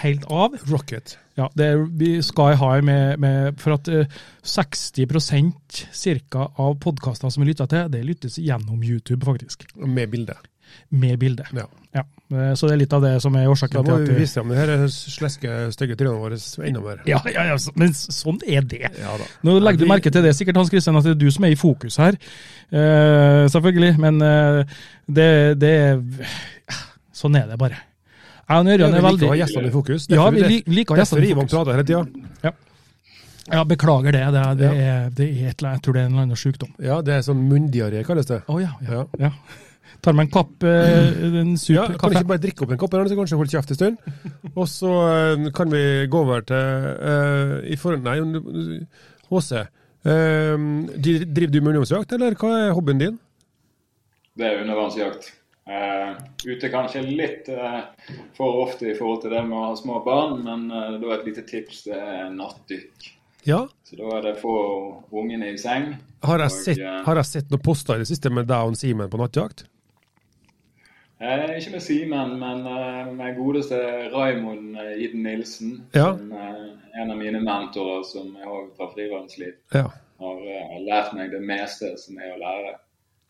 Speaker 2: helt av.
Speaker 3: Rocket.
Speaker 2: Ja, det er- vi skal ha med, med For at eh, 60 cirka av podkaster som vi lytter til, det lyttes gjennom YouTube, faktisk.
Speaker 3: Med bilde.
Speaker 2: Med bilde.
Speaker 3: Ja.
Speaker 2: Ja, eh, Så det er litt av det som er
Speaker 3: Da
Speaker 2: årsaken
Speaker 3: må
Speaker 2: til at
Speaker 3: vi
Speaker 2: du
Speaker 3: vise fram de her eh, sleske, stygge trynene våre enda mer.
Speaker 2: ja, ja, ja, så- men s- sånn er det.
Speaker 3: Ja da.
Speaker 2: Nå legger du
Speaker 3: Ja, vi-
Speaker 2: merke til det sikkert, Hans Christian, at det er du som er i fokus her. Eh, selvfølgelig. Men eh, det, det er- Sånn er det bare. Jeg og
Speaker 3: Ja,
Speaker 2: Ørjan
Speaker 3: vi
Speaker 2: er
Speaker 3: liker å ha
Speaker 2: veldig
Speaker 3: gjestene i fokus.
Speaker 2: Ja, vi
Speaker 3: Derfor-
Speaker 2: lik- liker å ha
Speaker 3: derfor
Speaker 2: gjestene i
Speaker 3: Ivan
Speaker 2: fokus.
Speaker 3: prater hele tida.
Speaker 2: Ja, beklager det. Det, er- det, er, det er et eller annet, jeg tror det er en eller annen sykdom.
Speaker 3: Ja, det er sånn munndiaré, kalles det.
Speaker 2: Å ja, ja,
Speaker 3: Ja.
Speaker 2: ja. Tar meg en kapp, eh, en sup
Speaker 3: Ja, kan du
Speaker 2: kaffe.
Speaker 3: ikke bare drikke opp en kopp, eller så kanskje holde kjeft en stund? Og så eh, kan vi gå over til eh, i forhold, Nei, HC. eh, dri- driver du med ungdomsjakt, eller hva er hobbyen din?
Speaker 4: Det er undervannsjakt. Eh, ute kanskje litt eh, for ofte i forhold til det med å ha små barn, men eh, da et lite tips det er nattdykk.
Speaker 3: Ja.
Speaker 4: Så da er det få ungene i seng.
Speaker 3: Har
Speaker 4: Og,
Speaker 3: jeg sett,
Speaker 4: eh,
Speaker 3: har jeg sett noen poster i det siste med deg og Simen på nattjakt?
Speaker 4: Eh, ikke med Simen, men eh, med godeste Raimond eh, Iden Nilsen.
Speaker 3: Ja.
Speaker 4: Som, eh, en av mine mentorer som er også fra frivannsliv.
Speaker 3: Ja.
Speaker 4: Har eh, lært meg det meste som er å lære.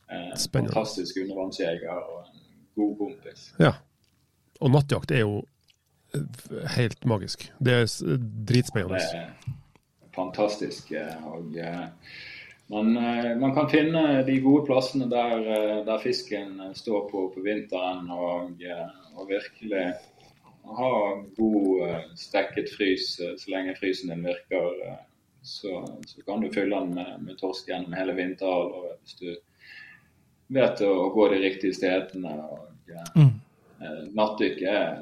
Speaker 4: Eh,
Speaker 3: Spennende.
Speaker 4: Fantastisk undervannsjeger og en god kompis.
Speaker 3: ja. Og nattjakt er jo eh, helt magisk. Det er s-
Speaker 4: Det
Speaker 3: dritspennende.
Speaker 4: er fantastisk. eh, og eh, man, eh, man kan finne de gode plassene der, eh, der fisken eh, står på på vinteren, og, eh, og virkelig ha god eh, stekket frys eh, så lenge frysen din virker. eh, Så, så kan du fylle den med, med torsk gjennom hele vinterhalvåret hvis du vet å, å gå de riktige stedene. og eh,
Speaker 2: Mm.
Speaker 4: eh, Nattdykk er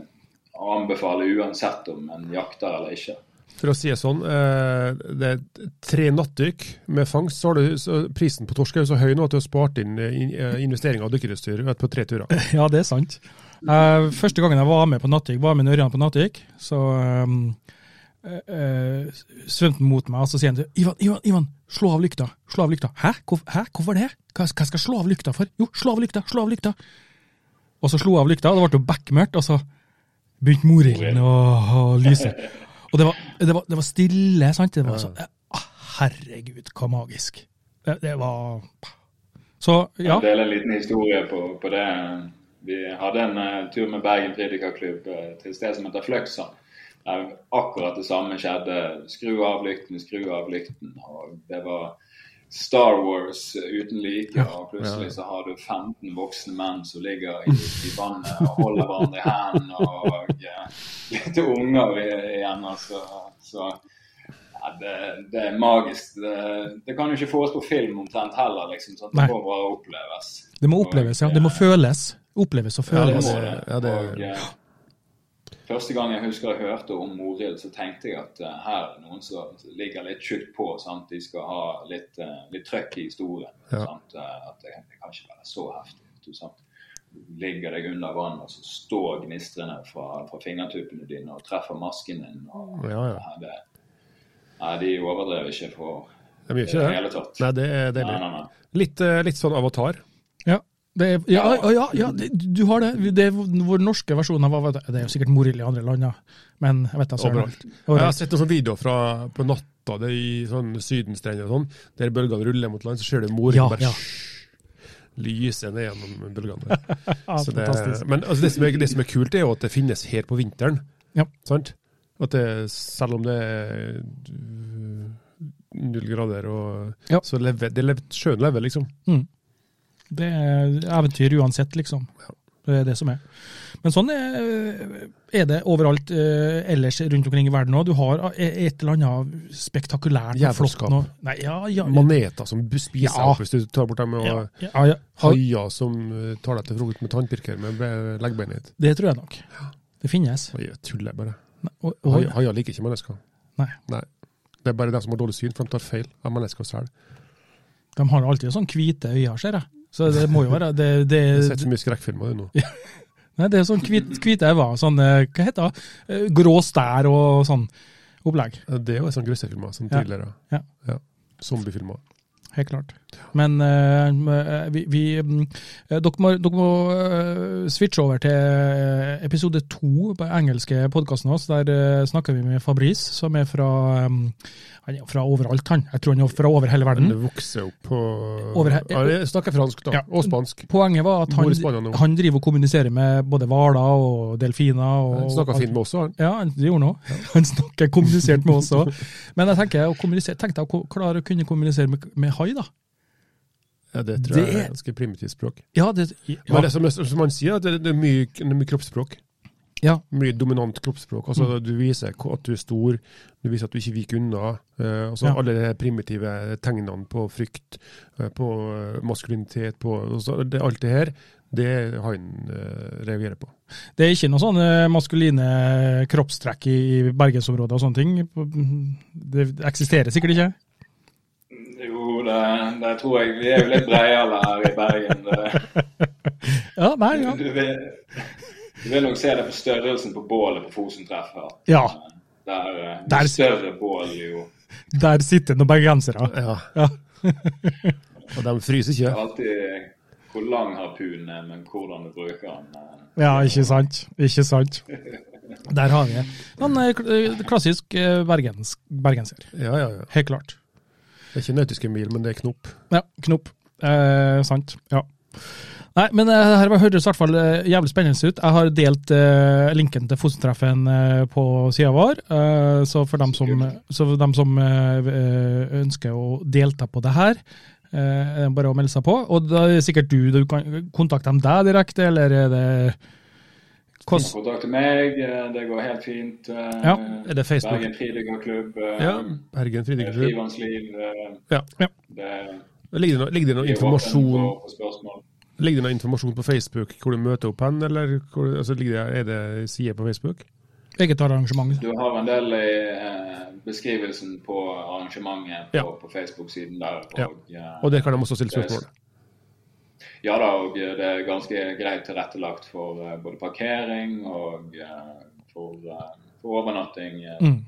Speaker 4: å anbefale uansett om en jakter eller ikke.
Speaker 3: For å si det sånn, eh, det er tre nattdykk med fangst, så har du så prisen på torsk er jo så høy nå at du har spart inn eh, in- eh, investering av dykkerutstyr vet, på tre
Speaker 4: *laughs*
Speaker 3: turer.
Speaker 2: *laughs* Ja, det er sant. Eh, første gangen jeg var med på Nattjik, var med Ørjan på Nattjik, så um, eh, svømte han mot meg, og så sier han til Ivan, Ivan, Ivan, slå av lykta, slå av lykta. Hæ, Hvor, hæ? hvorfor det? Hva, hva skal jeg slå av lykta for? Jo, slå av lykta, slå av lykta. Og så slo jeg av lykta, og det ble jo bekmørkt, og så begynte morilden å å lyse. Og det var, det var, det var stille, sant? Det var sånn, eh, herregud, hva magisk. Det, det var Så, ja.
Speaker 4: Jeg deler en liten historie på, på det. Vi hadde en eh, tur med Bergen Fridikerklubb eh, til et sted som heter Fløksa. Der akkurat det samme skjedde. Skru av lykten, skru av lykten. Og det var Star Wars uten like. Og plutselig så har du 15 voksne menn som ligger i, i vannet og holder hverandre i hendene. Og eh, litt unger i- igjen. Altså. Så ja, det, det er magisk. Det, det kan jo ikke fås på film omtrent heller. liksom, sånn at
Speaker 2: Nei.
Speaker 4: Det må bare oppleves. eh,
Speaker 2: Det må oppleves, ja. Det må føles. Oppleves og
Speaker 3: Ja, det
Speaker 2: føles.
Speaker 3: må det. Ja, det-
Speaker 4: Og, eh, første gang jeg husker jeg hørte om Morild, så tenkte jeg at eh, her er det noen som ligger litt tjukt på. Sant? De skal ha litt, eh, litt trøkk i historien.
Speaker 3: Ja.
Speaker 4: Sant? Eh, At det, det kan ikke være så heftig. vet Du, sant? du ligger deg under vann, og så står gnistrene fra, fra fingertuppene dine og treffer masken din. Og,
Speaker 3: Ja, ja.
Speaker 4: Nei, det, nei, de overdrev ikke for
Speaker 3: De gjør
Speaker 4: i
Speaker 3: ikke
Speaker 4: det
Speaker 3: det.
Speaker 4: hele tatt.
Speaker 3: Nei, det er
Speaker 4: Nei,
Speaker 3: deilig.
Speaker 4: nei, nei.
Speaker 3: Litt, eh, litt sånn avatar.
Speaker 2: Ja, det er, ja, ja, ja, ja det, du har det. Det er vår norske versjon av hva- Det er jo sikkert morild i andre land, ja. Men jeg vet da
Speaker 4: Sånn.
Speaker 2: søren.
Speaker 3: Overalt. Jeg har
Speaker 2: Overalt.
Speaker 3: sett noen sånne videoer fra på natta det er i sånn sydenstrender og sånn, der bølgene ruller mot land, så ser du mor
Speaker 2: Ja,
Speaker 3: bare
Speaker 2: ja.
Speaker 3: lyse ned gjennom bølgene.
Speaker 2: Ja,
Speaker 3: Så det,
Speaker 2: fantastisk.
Speaker 3: men altså, det, som er, det som er kult, er jo at det finnes her på vinteren.
Speaker 2: Ja.
Speaker 3: Sant? At det, selv om det er øh, null grader, og,
Speaker 2: Ja.
Speaker 3: så lever, det lever, sjøen lever, liksom.
Speaker 2: Det er eventyr uansett, liksom. Det er det som er. Men sånn er, er det overalt eh, ellers rundt omkring i verden òg. Du har e- et eller annet spektakulært og flott
Speaker 3: Jævelskap.
Speaker 2: nå. Nei, ja, ja,
Speaker 3: Maneter som bu- spiser
Speaker 2: Ja.
Speaker 3: opp hvis du tar bort dem, og
Speaker 2: ja, ja, ja.
Speaker 3: haier som øh, tar deg til frokost med tannpirker med be- leggbeinet ditt.
Speaker 2: Det tror jeg nok. Det finnes.
Speaker 3: Oi, Jeg tuller bare.
Speaker 2: Nei, og- og-
Speaker 3: Hai- Haier liker ikke mennesker.
Speaker 2: Nei.
Speaker 3: Nei. Det er bare de som har dårlig syn, for de tar feil av mennesker selv.
Speaker 2: De har alltid sånn hvite øyne, ser jeg. Så det må jo være det,
Speaker 3: *laughs*
Speaker 2: det,
Speaker 3: Jeg har sett så mye skrekkfilmer nå.
Speaker 2: Nei, det er sånn hvit, hvite øyne. Sånn, eh, hva heter det? Eh, Grå stær og sånn opplegg.
Speaker 3: Det er jo sånne grøssefilmer som
Speaker 2: Ja.
Speaker 3: tidligere.
Speaker 2: Ja.
Speaker 3: Zombiefilmer.
Speaker 2: Helt klart. Men eh, vi, vi mm, eh, Dere må, dere må eh, switche over til eh, episode to på den engelske podkasten vår. Der eh, snakker vi med Fabrice, som er fra mm, Han er jo fra overalt, han. Jeg tror han er fra over hele verden.
Speaker 3: Det vokser opp på
Speaker 2: Mm. Over her-
Speaker 3: ja, Jeg snakker fransk, da.
Speaker 2: Ja.
Speaker 3: Og spansk.
Speaker 2: Poenget var at
Speaker 3: Bor i Spania
Speaker 2: han,
Speaker 3: nå.
Speaker 2: han driver og kommuniserer med både hvaler og delfiner. Og,
Speaker 3: Jeg snakker
Speaker 2: alt-
Speaker 3: fint med også, han.
Speaker 2: Ja, det gjorde han òg. Han snakker kommunisert med oss òg. Men jeg tenker, å kommunisere- tenkte jeg å ko- klare å kunne kommunisere med, med hai, da.
Speaker 3: Ja, det tror
Speaker 2: Det
Speaker 3: jeg er
Speaker 2: er-
Speaker 3: ganske primitivt språk.
Speaker 2: Ja, det,
Speaker 3: Men
Speaker 2: ja,
Speaker 3: det som, som han sier, at det, det er mye, det er mye kroppsspråk.
Speaker 2: ja,
Speaker 3: Mye dominant kroppsspråk. Altså, Du viser ko- at du er stor, du viser at du ikke viker unna. eh, altså,
Speaker 2: Ja.
Speaker 3: Alle de her primitive tegnene på frykt, eh, på eh, maskulinitet på, altså, det, Alt det her, det er han eh, reagerer på.
Speaker 2: det er ikke noe sånne maskuline kroppstrekk i i bergensområdet og sånne ting. Det eksisterer sikkert ikke.
Speaker 4: Jo, det, det tror jeg. Vi er jo litt breiale her i Bergen. Det,
Speaker 2: Ja, nei, ja.
Speaker 4: Du vil, du vil nok se det på størrelsen på bålet på Fosen-treffet. at,
Speaker 2: Ja.
Speaker 4: eh, Der, eh, jo
Speaker 2: Der-
Speaker 4: større bål, jo.
Speaker 2: Der sitter noen bergensere.
Speaker 3: Ja,
Speaker 2: Ja.
Speaker 3: *laughs* Og de fryser
Speaker 4: Det er
Speaker 3: ikke.
Speaker 4: alltid hvor lang harpunen er, men hvordan du bruker den. eh.
Speaker 2: ja, ikke sant. Ikke sant. Der har vi det. Men eh, kl- eh, klassisk eh, bergens, bergenser.
Speaker 3: Ja, ja, ja.
Speaker 2: Helt klart.
Speaker 3: Det er ikke nautiske mil, men det er knop.
Speaker 2: Ja, knopp. Eh, sant. Ja. Nei, men eh, det her høres i hvert fall eh, jævlig spennende ut. Jeg har delt eh, linken til Fosentreffen eh, på sida vår. Eh, så for dem som, så for dem som eh, eh, ønsker å delta på det her, eh, er det bare å melde seg på. Og da er det sikkert du, du kan kontakte dem deg direkte, eller er det hvordan-
Speaker 4: Kontakt til meg, eh, det går helt fint. eh,
Speaker 2: Ja, er det Facebook?
Speaker 4: Bergen Fridigerklubb, eh,
Speaker 3: Ja, Bergen Fridekklubb.
Speaker 4: Frivans liv. eh,
Speaker 3: Ja.
Speaker 2: Ja.
Speaker 4: Det
Speaker 3: Ligger det noe, ligger det noe
Speaker 4: vi er
Speaker 3: informasjon
Speaker 4: åpne for- for spørsmål.
Speaker 3: Ligger det noe informasjon på Facebook hvor du møter opp hen, eller hvor, altså, ligger det, er det sider på Facebook?
Speaker 2: Eget arrangement.
Speaker 4: Du har en del i eh, beskrivelsen på arrangementet på,
Speaker 3: Ja.
Speaker 4: på Facebook-siden der.
Speaker 3: Ja.
Speaker 4: Og, eh,
Speaker 3: Og der kan de også stille spørsmål.
Speaker 4: Ja da, og eh, det er ganske greit tilrettelagt for eh, både parkering og eh, for, eh, for overnatting eh,
Speaker 2: Mm.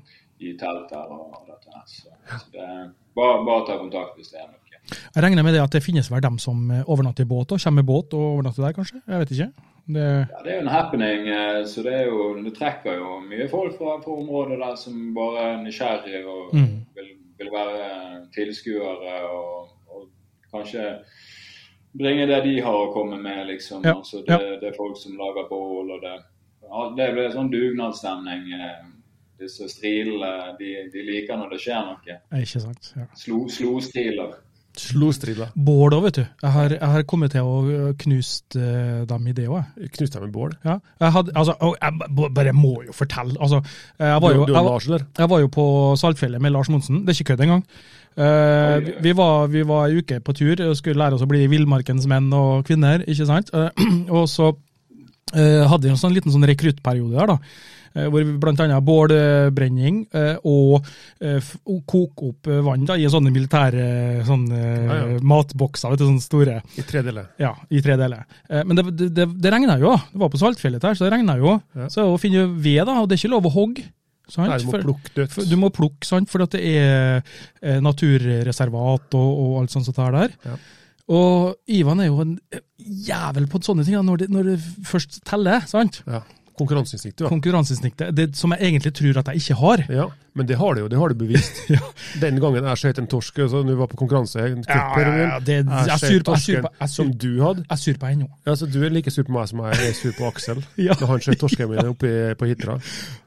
Speaker 4: i telt her og dette her. Så, så det, bare, bare ta kontakt hvis det er noe.
Speaker 2: Jeg regner med det at det finnes vel dem som eh, overnatter i båt og kommer med båt og overnatter der, kanskje? Jeg vet ikke. Det,
Speaker 4: Ja, det er jo en happening, eh, så det, er jo, det trekker jo mye folk fra, fra området der som bare er nysgjerrig og
Speaker 2: Mm.
Speaker 4: vil, vil være tilskuere og, og kanskje bringe det de har å komme med, liksom.
Speaker 2: Ja,
Speaker 4: Altså, det,
Speaker 2: ja.
Speaker 4: det er folk som lager bål og det. Ja, det blir sånn dugnadsstemning. eh, Disse strilene, de, de liker når det skjer noe.
Speaker 2: er ikke sant. Ja.
Speaker 4: Slo, slo-striler.
Speaker 3: Slostrilla.
Speaker 2: Bål òg, vet du. Jeg har, jeg har kommet til å ø, knust eh, dem i det òg, jeg.
Speaker 3: Knuste jeg med bål?
Speaker 2: Ja. Jeg, hadde, altså, og jeg b- b- bare må jo fortelle. Altså, jeg, var
Speaker 3: Du,
Speaker 2: jo,
Speaker 3: du og
Speaker 2: jeg, var-
Speaker 3: Lars, eller?
Speaker 2: jeg var jo på Saltfjellet med Lars Monsen, det er ikke kødd engang. Eh, vi- vi, var, vi var en uke på tur og skulle lære oss å bli villmarkens menn og kvinner, ikke sant. Eh, *clears throat* og så eh, hadde vi en sånn liten sånn rekruttperiode der, da. eh, Hvor vi bl.a. bålbrenning eh, og eh, f- og koke opp eh, vann da, i sånne militære sånne, eh,
Speaker 3: Ja, ja.
Speaker 2: matbokser, vet du, sånne store.
Speaker 3: I tre deler.
Speaker 2: Ja, i tre deler. Eh, Men det, det, det, det regna jo. Det var på Saltfjellet her, så det regna jo.
Speaker 3: Ja.
Speaker 2: Så å finne ved, da, og det er ikke lov å hogge. Sant?
Speaker 3: Nei, du må
Speaker 2: For-
Speaker 3: plukke dødt.
Speaker 2: for, du må plukke, sant? for at det er eh, naturreservat og, og alt sånt som det er der.
Speaker 3: Ja.
Speaker 2: Og Ivan er jo en eh, jævel på sånne ting da, når det, når det først teller. sant?
Speaker 3: Ja. Konkurranseinstinktet, ja.
Speaker 2: Konkurranseinstinktet, det som jeg egentlig tror at jeg ikke har.
Speaker 3: ja. Men det har du jo, det har du
Speaker 2: *laughs*
Speaker 3: bevist. Den gangen jeg skjøt en torsk, så du var på konkurranse en
Speaker 2: Ja, ja, ja, det-
Speaker 3: Jeg
Speaker 2: jeg er sur på- jeg er
Speaker 3: skjøt
Speaker 2: sur
Speaker 3: torsken
Speaker 2: på- jeg er sur-
Speaker 3: Som du hadde.
Speaker 2: Jeg er sur på henne nå.
Speaker 3: Ja, så Du er like sur på meg som jeg er sur på Aksel.
Speaker 2: *laughs* Ja.
Speaker 3: Når han skjøt torsken min oppe i- på Hitra.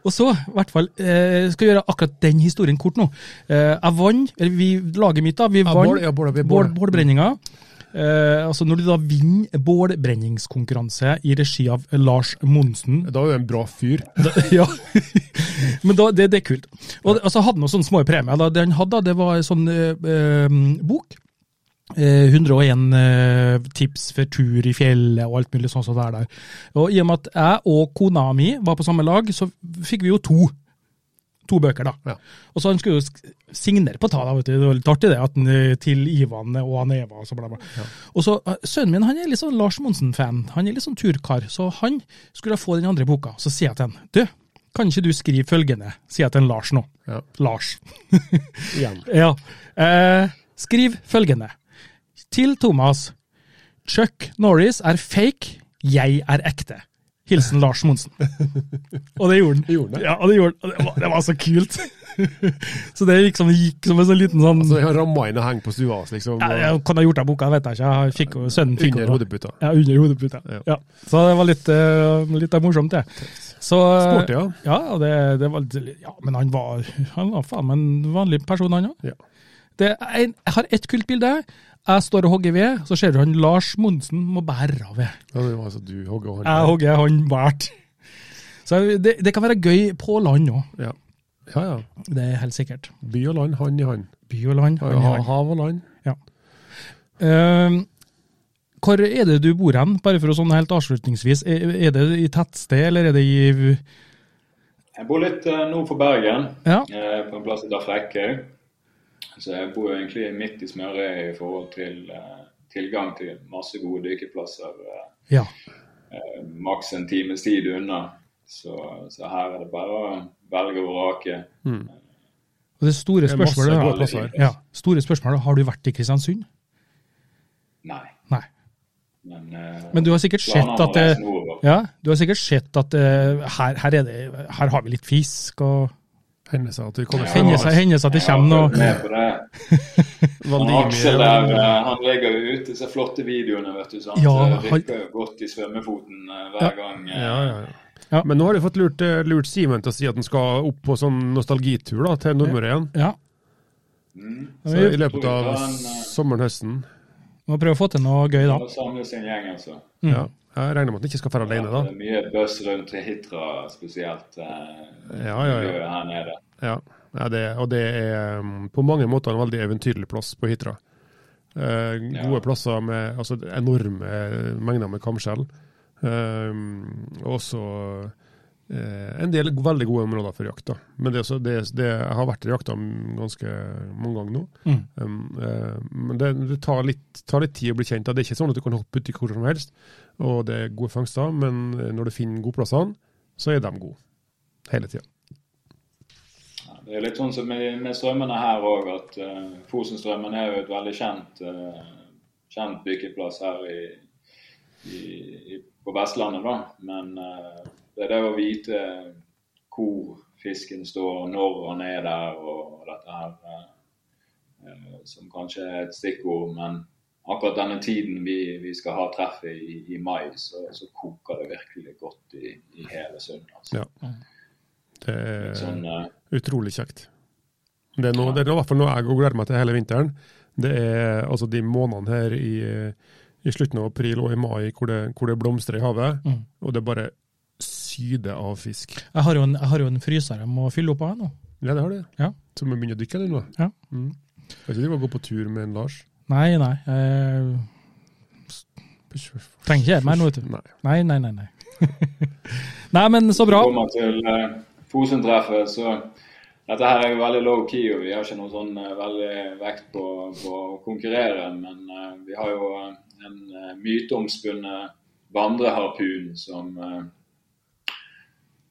Speaker 2: Og så, i hvert fall, eh, skal jeg gjøre akkurat den historien kort nå. Eh, jeg vant, eller vi laget mitt da, vi
Speaker 3: Ja,
Speaker 2: vant
Speaker 3: bål, ja, bål, ja, vi
Speaker 2: bål,
Speaker 3: bål.
Speaker 2: bålbrenninga. Eh, altså når du da vinner bålbrenningskonkurranse i regi av Lars Monsen.
Speaker 3: Da er du en bra fyr.
Speaker 2: *laughs* ja, men da, det, det er kult. Og altså, hadde noen sånne små premier. Da. Det han hadde, da, det var en sånn eh, eh, bok. Eh, 101 eh, tips for tur i fjellet og alt mulig sånt som det er der. Og i og med at jeg og kona mi var på samme lag, så fikk vi jo to. To bøker, da.
Speaker 3: Ja.
Speaker 2: Og så han skulle jo sk- signere på ta, da, vet du. Det var litt artig det, at han, eh, til Ivan og han Eva og så bla, bla. Og så, eh, Sønnen min han er litt sånn Lars Monsen-fan. Han er litt sånn turkar. Så han skulle få den andre boka. Så sier jeg til han, du, kan ikke du skrive følgende? Sier jeg til en Lars nå.
Speaker 3: Ja.
Speaker 2: Lars.
Speaker 3: Igjen.
Speaker 2: Ja. Eh, skriv følgende. Til Thomas. Chuck Norris er fake, jeg er ekte. Hilsen Lars Monsen. Og det gjorde han.
Speaker 3: Gjorde han det?
Speaker 2: Ja, og det, gjorde han. Og det, var, det var så kult. *laughs* Så det gikk som, gikk som en sånn liten sånn
Speaker 3: Så jeg har ramma inn og hengt på stua hans, liksom.
Speaker 2: ja, Jeg kan ha gjort av boka, vet jeg ikke. Jeg fikk, jo- sønnen fikk jo
Speaker 3: Under
Speaker 2: det.
Speaker 3: hodeputa.
Speaker 2: Ja, under hodeputa.
Speaker 3: Ja.
Speaker 2: Ja. Så det var litt, eh, litt morsomt, det. Så,
Speaker 3: Sporty, ja.
Speaker 2: Ja, og det, det var, litt- ja, men han var, han var faen meg en vanlig person, han òg.
Speaker 3: Ja.
Speaker 2: Det er en, jeg har ett kult bilde. Jeg står og hogger ved, så ser du han Lars Monsen må bære av ved.
Speaker 3: Ja, det var altså du hogg og
Speaker 2: Jeg
Speaker 3: han.
Speaker 2: hogger, han bært. Så det, det kan være gøy på land òg,
Speaker 3: Ja. ja, ja.
Speaker 2: det er helt sikkert.
Speaker 3: By og land, hand i hand.
Speaker 2: By og land.
Speaker 3: Ja,
Speaker 2: han i
Speaker 3: ja,
Speaker 2: hand.
Speaker 3: hav og land.
Speaker 2: Ehm, hvor er det du bor hen, bare for å sånn helt avslutningsvis? Er, er det i tettsted, eller er det i
Speaker 4: Jeg bor litt eh, nord for Bergen,
Speaker 2: Ja.
Speaker 4: eh, på en plass som heter Frekkhaug. Så jeg bor jo egentlig midt i smørøyet i forhold til eh, tilgang til masse gode dykkerplasser. Eh,
Speaker 2: Ja.
Speaker 4: eh, maks en times tid unna. Så, så her er det bare å velge og vrake.
Speaker 2: Og det store
Speaker 3: Det er masse
Speaker 2: spørsmålet
Speaker 3: gode plasser her.
Speaker 2: ja, store spørsmålet, Har du vært i Kristiansund?
Speaker 4: Nei.
Speaker 2: Nei.
Speaker 4: Men, eh,
Speaker 2: Men du har sikkert sett
Speaker 4: planene
Speaker 2: at
Speaker 4: må
Speaker 2: det,
Speaker 4: reise nordover.
Speaker 2: ja, du har sikkert sett at eh, her, her, er det, her har vi litt fisk og
Speaker 3: Hender seg at vi kommer
Speaker 4: Ja.
Speaker 2: Hender seg, hender seg at det kommer
Speaker 4: Jeg
Speaker 2: noe
Speaker 4: har fulgt med på det. Han
Speaker 3: Valdimir-
Speaker 4: Aksel der, eh, han legger jo ut disse flotte videoene, vet du. sant?
Speaker 2: Ja,
Speaker 4: han
Speaker 2: han-
Speaker 4: rykker jo godt i svømmefoten eh, hver
Speaker 2: Ja.
Speaker 4: gang. eh,
Speaker 3: Ja, ja, ja.
Speaker 2: Ja.
Speaker 3: Men nå har du fått lurt, eh, lurt Simen til å si at han skal opp på sånn nostalgitur da, til Nordmøre igjen.
Speaker 2: Ja.
Speaker 4: Mm.
Speaker 3: Så I løpet av
Speaker 4: Tror vi tar en, eh,
Speaker 3: sommeren-høsten.
Speaker 2: Vi må prøve å få til noe gøy, da.
Speaker 4: Nå samles en gjeng, altså.
Speaker 2: Mm.
Speaker 3: Ja. Jeg regner med at han ikke skal dra alene, da.
Speaker 4: Det er mye buzz rundt Hitra, spesielt eh,
Speaker 3: Ja, ja, ja.
Speaker 4: miljøet her nede.
Speaker 3: Ja, ja det, og det er um, på mange måter en veldig eventyrlig plass på Hitra. Eh, gode
Speaker 4: Ja.
Speaker 3: plasser med altså, enorme eh, mengder med kamskjell. Um, og også eh, en del go- veldig gode områder for jakt. da. Men det, er også, det, det, jeg har vært i jakta m- ganske mange ganger nå.
Speaker 2: Mm.
Speaker 3: Um, eh, men det, det tar, litt, tar litt tid å bli kjent. da. Det er ikke sånn at du kan hoppe uti hvor som helst, og det er gode fangster. Men eh, når du finner gode plassene, så er de gode. Hele tida.
Speaker 4: Ja, Det er litt sånn som med, med strømmene her òg, at eh, Fosenstrømmen er jo et veldig kjent, eh, kjent byggeplass her i, i, i, på Vestlandet. da. Men eh, det er det å vite hvor fisken står, når han er der og dette her, eh, eh, som kanskje er et stikkord. men Akkurat denne tiden vi, vi skal ha treffet i, i mai, så, så koker det virkelig godt i, i hele Sund. Altså.
Speaker 3: Ja. Det er
Speaker 4: Sånn, eh,
Speaker 3: utrolig kjekt. Det er, noe, det er i hvert fall noe jeg går og gleder meg til hele vinteren. Det er altså de månedene her i, i slutten av april og i mai hvor det, hvor det blomstrer i havet, og det bare syder av fisk.
Speaker 2: Jeg har jo en, jeg har jo en fryser jeg må fylle opp av nå.
Speaker 3: Ja, det har det.
Speaker 2: Ja.
Speaker 3: Så må vi begynne å dykke, eller noe?
Speaker 2: Ja.
Speaker 3: Mm. Jeg tror vi må gå på tur med en Lars.
Speaker 2: Nei, nei. Jeg trenger ikke gjøre meg noe, vet du.
Speaker 3: Nei.
Speaker 2: Nei, nei, nei. *laughs* Nei, nei men så bra.
Speaker 4: kommer til eh, Fosen-treffet, så dette her er jo veldig low key, og vi har ikke noe sånn eh, veldig vekt på, på å konkurrere. Men eh, vi har jo eh, en uh, myteomspunnet vandreharpun som eh,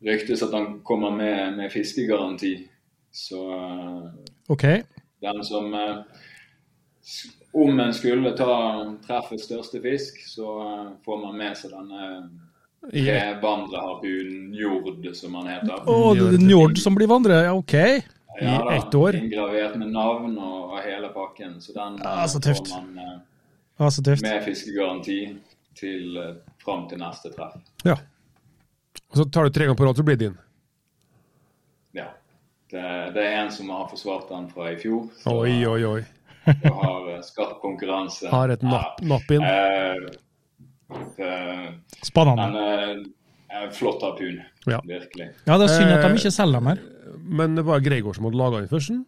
Speaker 4: ryktes at han kommer med, med fiskegaranti. Så eh,
Speaker 2: Ok.
Speaker 4: den som eh, s- Om en skulle ta treffets største fisk, så eh, får man med seg denne
Speaker 3: Ja.
Speaker 4: trevandreharpunen, Njord, som han heter.
Speaker 2: Å, Mm, det er Njord som blir vandrer. Ja, ok.
Speaker 3: i ett år.
Speaker 4: Inngravert med navn og, og hele pakken. Så den
Speaker 2: Ja,
Speaker 4: eh,
Speaker 2: så tøft.
Speaker 4: får man eh,
Speaker 2: Ja, så tøft.
Speaker 4: med fiskegaranti til eh, fram til neste treff.
Speaker 3: ja. Og så tar du tre ganger på rad, så blir det din.
Speaker 4: Ja. Det, det er en som har forsvart den fra i fjor, så *laughs*
Speaker 3: Oi, oi, oi.
Speaker 4: vi har eh, skarp konkurranse.
Speaker 3: Har et napp, napp inn.
Speaker 4: Eh, eh,
Speaker 2: Spennende.
Speaker 4: men eh, en flott harpun,
Speaker 3: Ja.
Speaker 4: virkelig.
Speaker 2: Ja, det er synd
Speaker 3: Eh,
Speaker 2: at de ikke selger dem her.
Speaker 3: Men det var Greigård som hadde laga den først? den?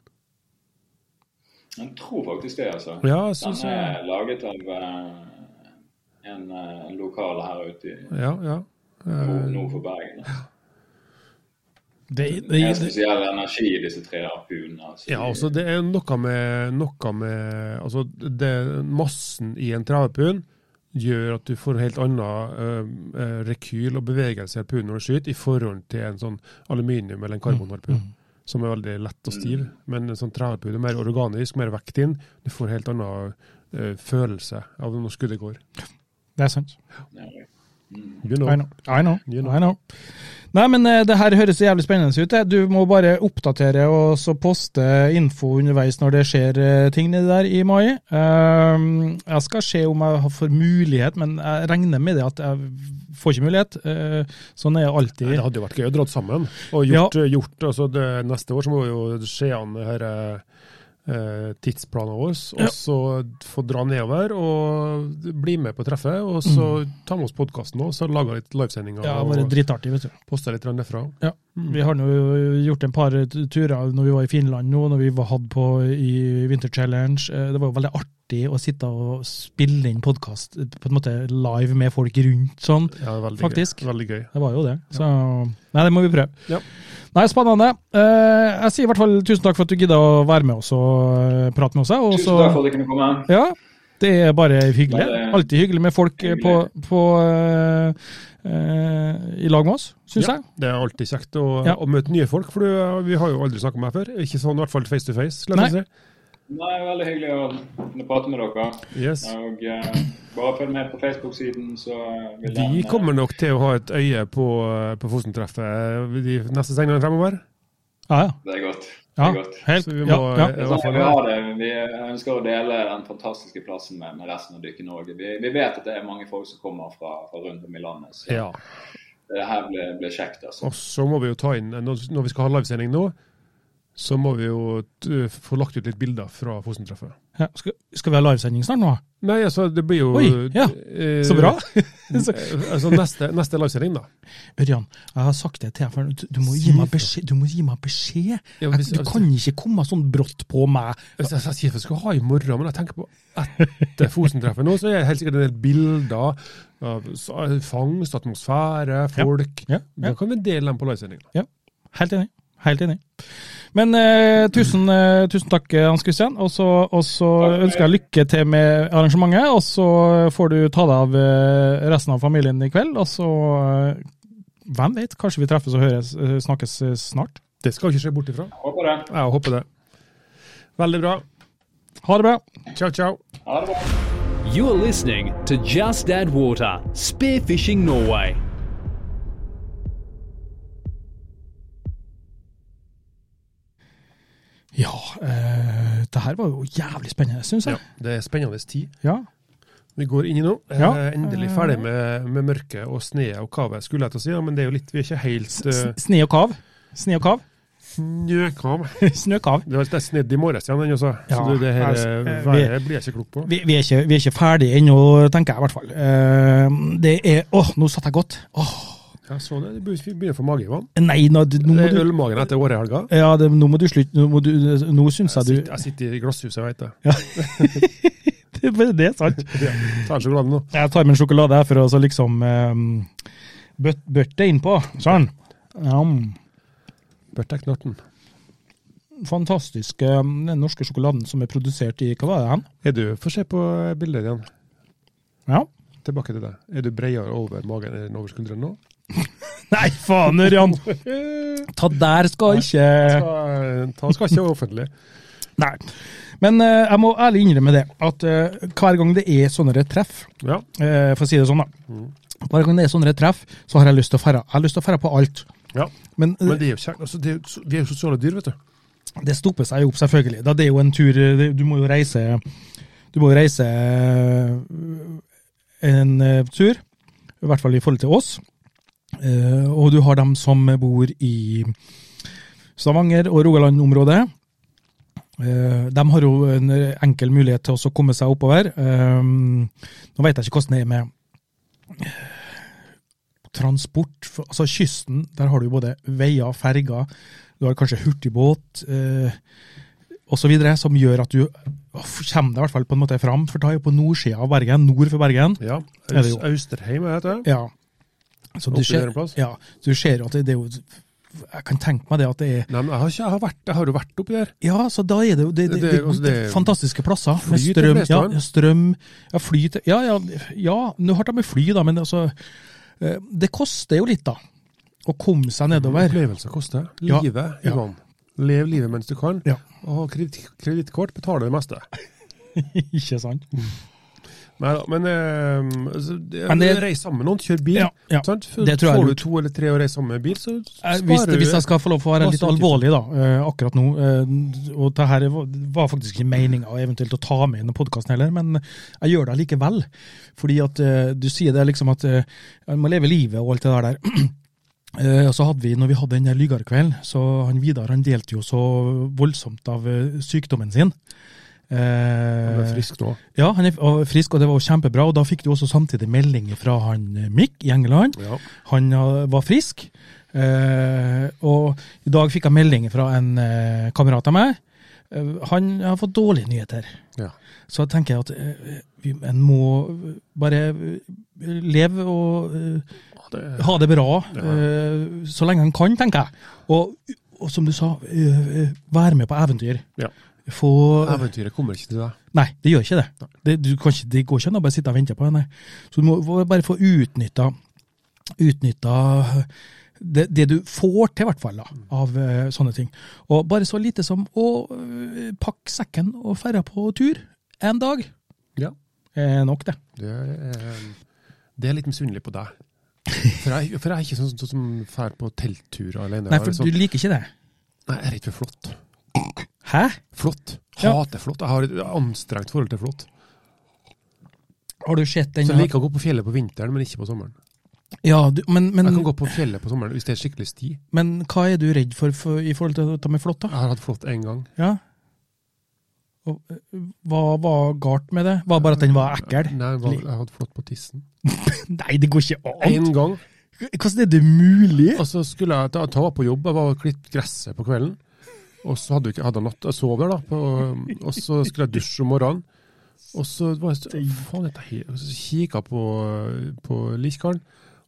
Speaker 4: Jeg tror faktisk det, altså.
Speaker 3: Ja, jeg
Speaker 4: Den
Speaker 3: synes jeg.
Speaker 4: er laget av eh, en, eh, lokal her ute i
Speaker 3: Ja, ja. Eh.
Speaker 4: nord nord for Bergen. altså.
Speaker 2: Det,
Speaker 4: Det er
Speaker 2: det,
Speaker 4: en
Speaker 2: det,
Speaker 4: spesiell energi i disse tre harpunene. Altså.
Speaker 3: Ja, altså det er noe med, noe med altså det, Massen i en travepund gjør at du får en helt annen eh, rekyl og bevegelse i harpunen når du skyter, i forhold til en sånn aluminium- eller en karbonharpun, som er veldig lett og stiv. Men en sånn travepund er mer organisk, mer vekt inn. Du får en helt annen eh, følelse av når skuddet går.
Speaker 2: det er sant.
Speaker 3: You know.
Speaker 2: I know. I know.
Speaker 3: You know.
Speaker 2: I know. Nei, men eh, det her høres så jævlig spennende ut. eh. Du må bare oppdatere og så poste info underveis når det skjer eh, ting nedi der i mai. Ehm, jeg skal se om jeg har- får mulighet, men jeg regner med det at jeg får ikke mulighet. Eh, sånn er jeg alltid.
Speaker 3: Det hadde jo vært gøy å dra sammen og gjort, gjort altså det, Neste år så må jo skje an det her eh, tidsplanen vår, og så få dra nedover og bli med på treffet. Og så ta med oss podkasten òg, så lager litt livesendinger
Speaker 2: Mm. Ja, bare
Speaker 3: og
Speaker 2: dritartig, vet du.
Speaker 3: poster litt derfra.
Speaker 2: Ja,
Speaker 4: Mm.
Speaker 2: Vi har nå gjort en par turer når vi var i Finland nå, når vi var hatt på i Winter Challenge. Eh, Det var jo veldig artig å sitte og spille inn podkast på en måte live med folk rundt sånn.
Speaker 3: Ja, veldig
Speaker 2: Faktisk.
Speaker 3: Gøy. Veldig gøy.
Speaker 2: Det var jo det. Så Nei, det må vi prøve.
Speaker 3: Ja.
Speaker 2: Nei, spennende. Eh, Jeg sier i hvert fall tusen takk for at du gidda å være med oss og eh, prate med oss. Og
Speaker 4: Tusen
Speaker 2: så
Speaker 4: takk for at jeg kunne komme.
Speaker 2: Ja, det er bare hyggelig.
Speaker 4: Bare-
Speaker 2: Alltid hyggelig med folk eh, på,
Speaker 4: Hyggelig.
Speaker 2: på eh, eh, i lag med oss, syns jeg.
Speaker 3: Det er alltid kjekt å,
Speaker 2: Ja.
Speaker 3: å møte nye folk, for du, vi har jo aldri snakka med deg før. Ikke sånn i hvert fall face to face. skulle jeg
Speaker 2: Nei.
Speaker 3: si.
Speaker 4: Nei, veldig hyggelig å kunne prate med dere.
Speaker 3: Yes.
Speaker 4: Og eh, bare følg med på Facebook-siden, så vil eh,
Speaker 3: Vi kommer nok til å ha et øye på, eh, på Fosen-treffet de neste sendingene fremover.
Speaker 2: Ja, ja.
Speaker 4: Det er godt. Det
Speaker 2: Ja,
Speaker 4: er godt.
Speaker 2: helt,
Speaker 3: Så vi må
Speaker 2: ja, ja.
Speaker 3: eh, i hvert
Speaker 4: Sånn
Speaker 3: fall
Speaker 4: vi, har det. vi ønsker å dele den fantastiske plassen med, med resten av Dykke Norge. Vi, vi vet at det er mange folk som kommer fra, fra rundt om i landet, så
Speaker 3: Ja.
Speaker 4: det her blir, blir kjekt. altså.
Speaker 3: Og så må vi jo ta inn, når når vi skal ha livesending nå, så må vi jo t- få lagt ut litt bilder fra Fosen-treffet.
Speaker 2: Ja, skal, skal vi ha livesending snart nå?
Speaker 3: Nei, altså det blir jo
Speaker 2: Oi, ja.
Speaker 3: eh,
Speaker 2: Så bra!
Speaker 3: eh, *laughs* altså neste, neste livesending, da.
Speaker 2: Ørjan, jeg har sagt det til deg før, du, du må gi meg beskjed. Du, må gi meg beskjed.
Speaker 3: Ja, hvis-
Speaker 2: du kan ikke komme sånn brått på meg.
Speaker 3: Jeg, jeg, jeg sier vi skal ha i morgen, men jeg tenker på etter Fosen-treffet nå, så er det helt sikkert en del bilder av s- fangst, atmosfære, folk.
Speaker 2: Ja, ja.
Speaker 3: Da kan vi dele dem på livesendingen.
Speaker 2: Ja, helt enig. Helt enig. Men eh, tusen, eh, tusen takk, eh, Hans Christian. Og så, og så ønsker jeg lykke til med arrangementet. Og så eh, får du ta deg av eh, resten av familien i kveld. Og så eh, Hvem vet, kanskje vi treffes og høres, eh, snakkes eh, snart.
Speaker 3: Det skal vi ikke se bort ifra.
Speaker 4: Håper håper det.
Speaker 3: Jeg håper det. Veldig bra.
Speaker 2: Ha det bra.
Speaker 3: Ciao, ciao.
Speaker 4: Ha det bra.
Speaker 1: You're listening to Just Add Water Spearfishing Norway.
Speaker 2: Ja, eh, det her var jo jævlig spennende, syns jeg.
Speaker 3: Ja, det er spennende tid.
Speaker 2: Ja.
Speaker 3: Vi går inn i nå.
Speaker 2: Ja.
Speaker 3: Eh, Endelig ferdig med, med mørket og sneet og kavet, skulle jeg til å si. Ja, men det er jo litt, vi er ikke helt
Speaker 2: S-
Speaker 3: uh,
Speaker 2: Sne og kav. Sne og kav. *laughs*
Speaker 3: snøkav.
Speaker 2: Snøkav.
Speaker 3: Det var litt snedd i morges igjen, den også. Så
Speaker 2: Ja,
Speaker 3: du, det her
Speaker 2: altså, eh,
Speaker 3: eh,
Speaker 2: vi-
Speaker 3: været blir jeg ikke klok på.
Speaker 2: Vi, vi, er ikke, vi er ikke ferdige ennå, tenker jeg i hvert fall. Eh, det er Åh, nå satt jeg godt. Åh,
Speaker 3: Jeg så det, det begynner- vi begynner å få magevann.
Speaker 2: nei, nå, nå
Speaker 3: Det
Speaker 2: må
Speaker 3: er
Speaker 2: du
Speaker 3: ølmagen etter årehelga.
Speaker 2: Ja, det, nå må du slutte. Nå, må du, nå syns
Speaker 3: Jeg
Speaker 2: jeg du
Speaker 3: sitter, jeg sitter i glasshuset, jeg vet det.
Speaker 2: *laughs* Det, det er sant.
Speaker 3: Ta en sjokolade nå.
Speaker 2: Jeg tar med en sjokolade her for å så liksom um, bøt, bøtte innpå. Sånn. Jam.
Speaker 3: Børtek Norten.
Speaker 2: fantastiske um, den norske sjokoladen som er produsert i Hva var det hen?
Speaker 3: Er du, Få se på bilder igjen.
Speaker 2: Ja.
Speaker 3: Tilbake til deg. Er du bredere over magen enn over skuldrene nå?
Speaker 2: Nei, faen, Ørjan! Ta der skal ikke
Speaker 3: Skal, eh, ta skal ikke være offentlig.
Speaker 2: Nei. Men eh, jeg må ærlig innrømme det, at eh, hver gang det er sånne treff,
Speaker 3: Ja.
Speaker 2: eh, for å si det sånn, da
Speaker 3: Mm.
Speaker 2: Hver gang det er sånne treff, så har jeg lyst til å ferde. Jeg har lyst til å ferde på alt.
Speaker 3: ja.
Speaker 2: Men, eh,
Speaker 3: Men det er jo kjekt. Altså, det er, jo så- vi er jo sosiale dyr, vet du.
Speaker 2: det stopper seg jo opp, selvfølgelig. Da det er jo en tur eh, det- Du må jo reise Du må jo reise eh, en eh, tur, i hvert fall i forhold til oss. Eh, Og du har dem som bor i Stavanger og Rogaland-området. Eh, De har jo en enkel mulighet til også å komme seg oppover. Eh, Nå vet jeg ikke hvordan det er med eh, transport, for- altså kysten, der har du jo både veier, ferger, du har kanskje hurtigbåt eh, osv., som gjør at du uff, kommer deg i hvert fall på en måte fram, for da er jo på nordsida av Bergen, nord for Bergen.
Speaker 3: Ja.
Speaker 2: Er det jo.
Speaker 3: Aus- Austerheim, heter det.
Speaker 2: Ja. Så du
Speaker 3: Oppi
Speaker 2: ser,
Speaker 3: der en plass?
Speaker 2: ja, du ser jo at det, det er jo Jeg kan tenke meg det at det er
Speaker 3: Nei, men jeg har, ikke, jeg, har vært, jeg har jo vært oppi der.
Speaker 2: Ja, så da er det jo det, det,
Speaker 3: Det-
Speaker 2: det,
Speaker 3: det- altså, det-
Speaker 2: fantastiske plasser. Med
Speaker 3: Fly til
Speaker 2: strøm, ja,
Speaker 3: Flesland.
Speaker 2: ja, strøm, ja, fly til Ja, ja, ja nå har de med fly, da, men altså eh, Det koster jo litt, da. Å komme seg nedover.
Speaker 3: Opplevelser koster.
Speaker 2: Ja.
Speaker 3: Livet,
Speaker 2: Ja.
Speaker 3: Ivan. Lev livet mens du kan.
Speaker 2: Ja.
Speaker 3: Og kreditt- kredittkort betaler det meste.
Speaker 2: *laughs* Ikke sant?
Speaker 3: Nei da, men, eh, altså, det-
Speaker 2: Men det-
Speaker 3: reis sammen med noen, kjør bil.
Speaker 2: Ja, ja.
Speaker 3: Sant? F-
Speaker 2: Det tror jeg er
Speaker 3: Får du
Speaker 2: lurt.
Speaker 3: to eller tre å reise sammen med bil, så
Speaker 2: Eh,
Speaker 3: sparer
Speaker 2: Hvis,
Speaker 3: du
Speaker 2: hvis jeg skal få lov å være litt
Speaker 3: Masse
Speaker 2: alvorlig da, eh, akkurat nå, eh, og det her var var faktisk ikke meninga eventuelt å ta med inn i podkasten heller, men jeg gjør det likevel. Fordi at eh, du sier det liksom at eh, man må leve livet og alt det der. der. *clears throat* Eh, og så hadde vi, når vi hadde den der Lygarkvelden, så han Vidar han delte jo så voldsomt av eh, sykdommen sin.
Speaker 3: Du
Speaker 2: Eh,
Speaker 3: er frisk nå.
Speaker 2: ja, han er f- og frisk, og det var jo kjempebra. Og da fikk du også samtidig melding fra han eh, Mick i England.
Speaker 3: Ja.
Speaker 2: Han eh, var frisk. Eh, og i dag fikk jeg melding fra en eh, kamerat av meg. Eh, han har fått dårlige nyheter.
Speaker 3: Ja.
Speaker 2: Så jeg tenker at eh, vi, en må bare eh, leve og eh, ha det bra eh, så lenge han kan, tenker jeg. Og, og som du sa, eh, eh, være med på eventyr.
Speaker 3: Ja.
Speaker 2: Få
Speaker 3: Eventyret kommer ikke til deg.
Speaker 2: Nei, det gjør ikke det. Det, du kan ikke, det går ikke an å bare sitte og vente på henne. Så du må må bare få utnytta utnytta det, det du får til, i hvert fall, da, av eh, sånne ting. Og bare så lite som å eh, pakke sekken og ferde på tur en dag,
Speaker 3: Ja.
Speaker 2: er nok det.
Speaker 3: Det er, ehm, det er litt misunnelig på deg. For jeg, for jeg er ikke sånn, sånn som drar på teltturer alene.
Speaker 2: Nei,
Speaker 3: Jeg er
Speaker 2: for
Speaker 3: sånn-
Speaker 2: du liker ikke det.
Speaker 3: Nei, jeg er redd for flått.
Speaker 2: Hæ?
Speaker 3: Flått.
Speaker 2: Ja.
Speaker 3: Hater flått. Jeg har et anstrengt forhold til flått.
Speaker 2: Har du sett den
Speaker 3: Så jeg liker å gå på fjellet på vinteren, men ikke på sommeren.
Speaker 2: Ja, du, men, men,
Speaker 3: Jeg kan gå på fjellet på sommeren hvis det er skikkelig sti.
Speaker 2: men hva er du redd for, for i forhold til dette med flått,
Speaker 3: Jeg
Speaker 2: da?
Speaker 3: har hatt flått én gang.
Speaker 2: Ja. Og, eh, hva var galt med det? Var bare at den var ekkel?
Speaker 3: Nei, jeg var- jeg hadde flått på tissen.
Speaker 2: Nei, det går ikke an!
Speaker 3: Én gang.
Speaker 2: Hvordan er det mulig?
Speaker 3: Og så skulle jeg ta, ta på jobb, jeg var og klippet gresset på kvelden. Og så hadde jeg ikke- hadde jeg natt, jeg sov der da, på, og så skulle jeg dusje om morgenen. Og så var jeg så, faen, dette her, og så kikket jeg på, på likkaren,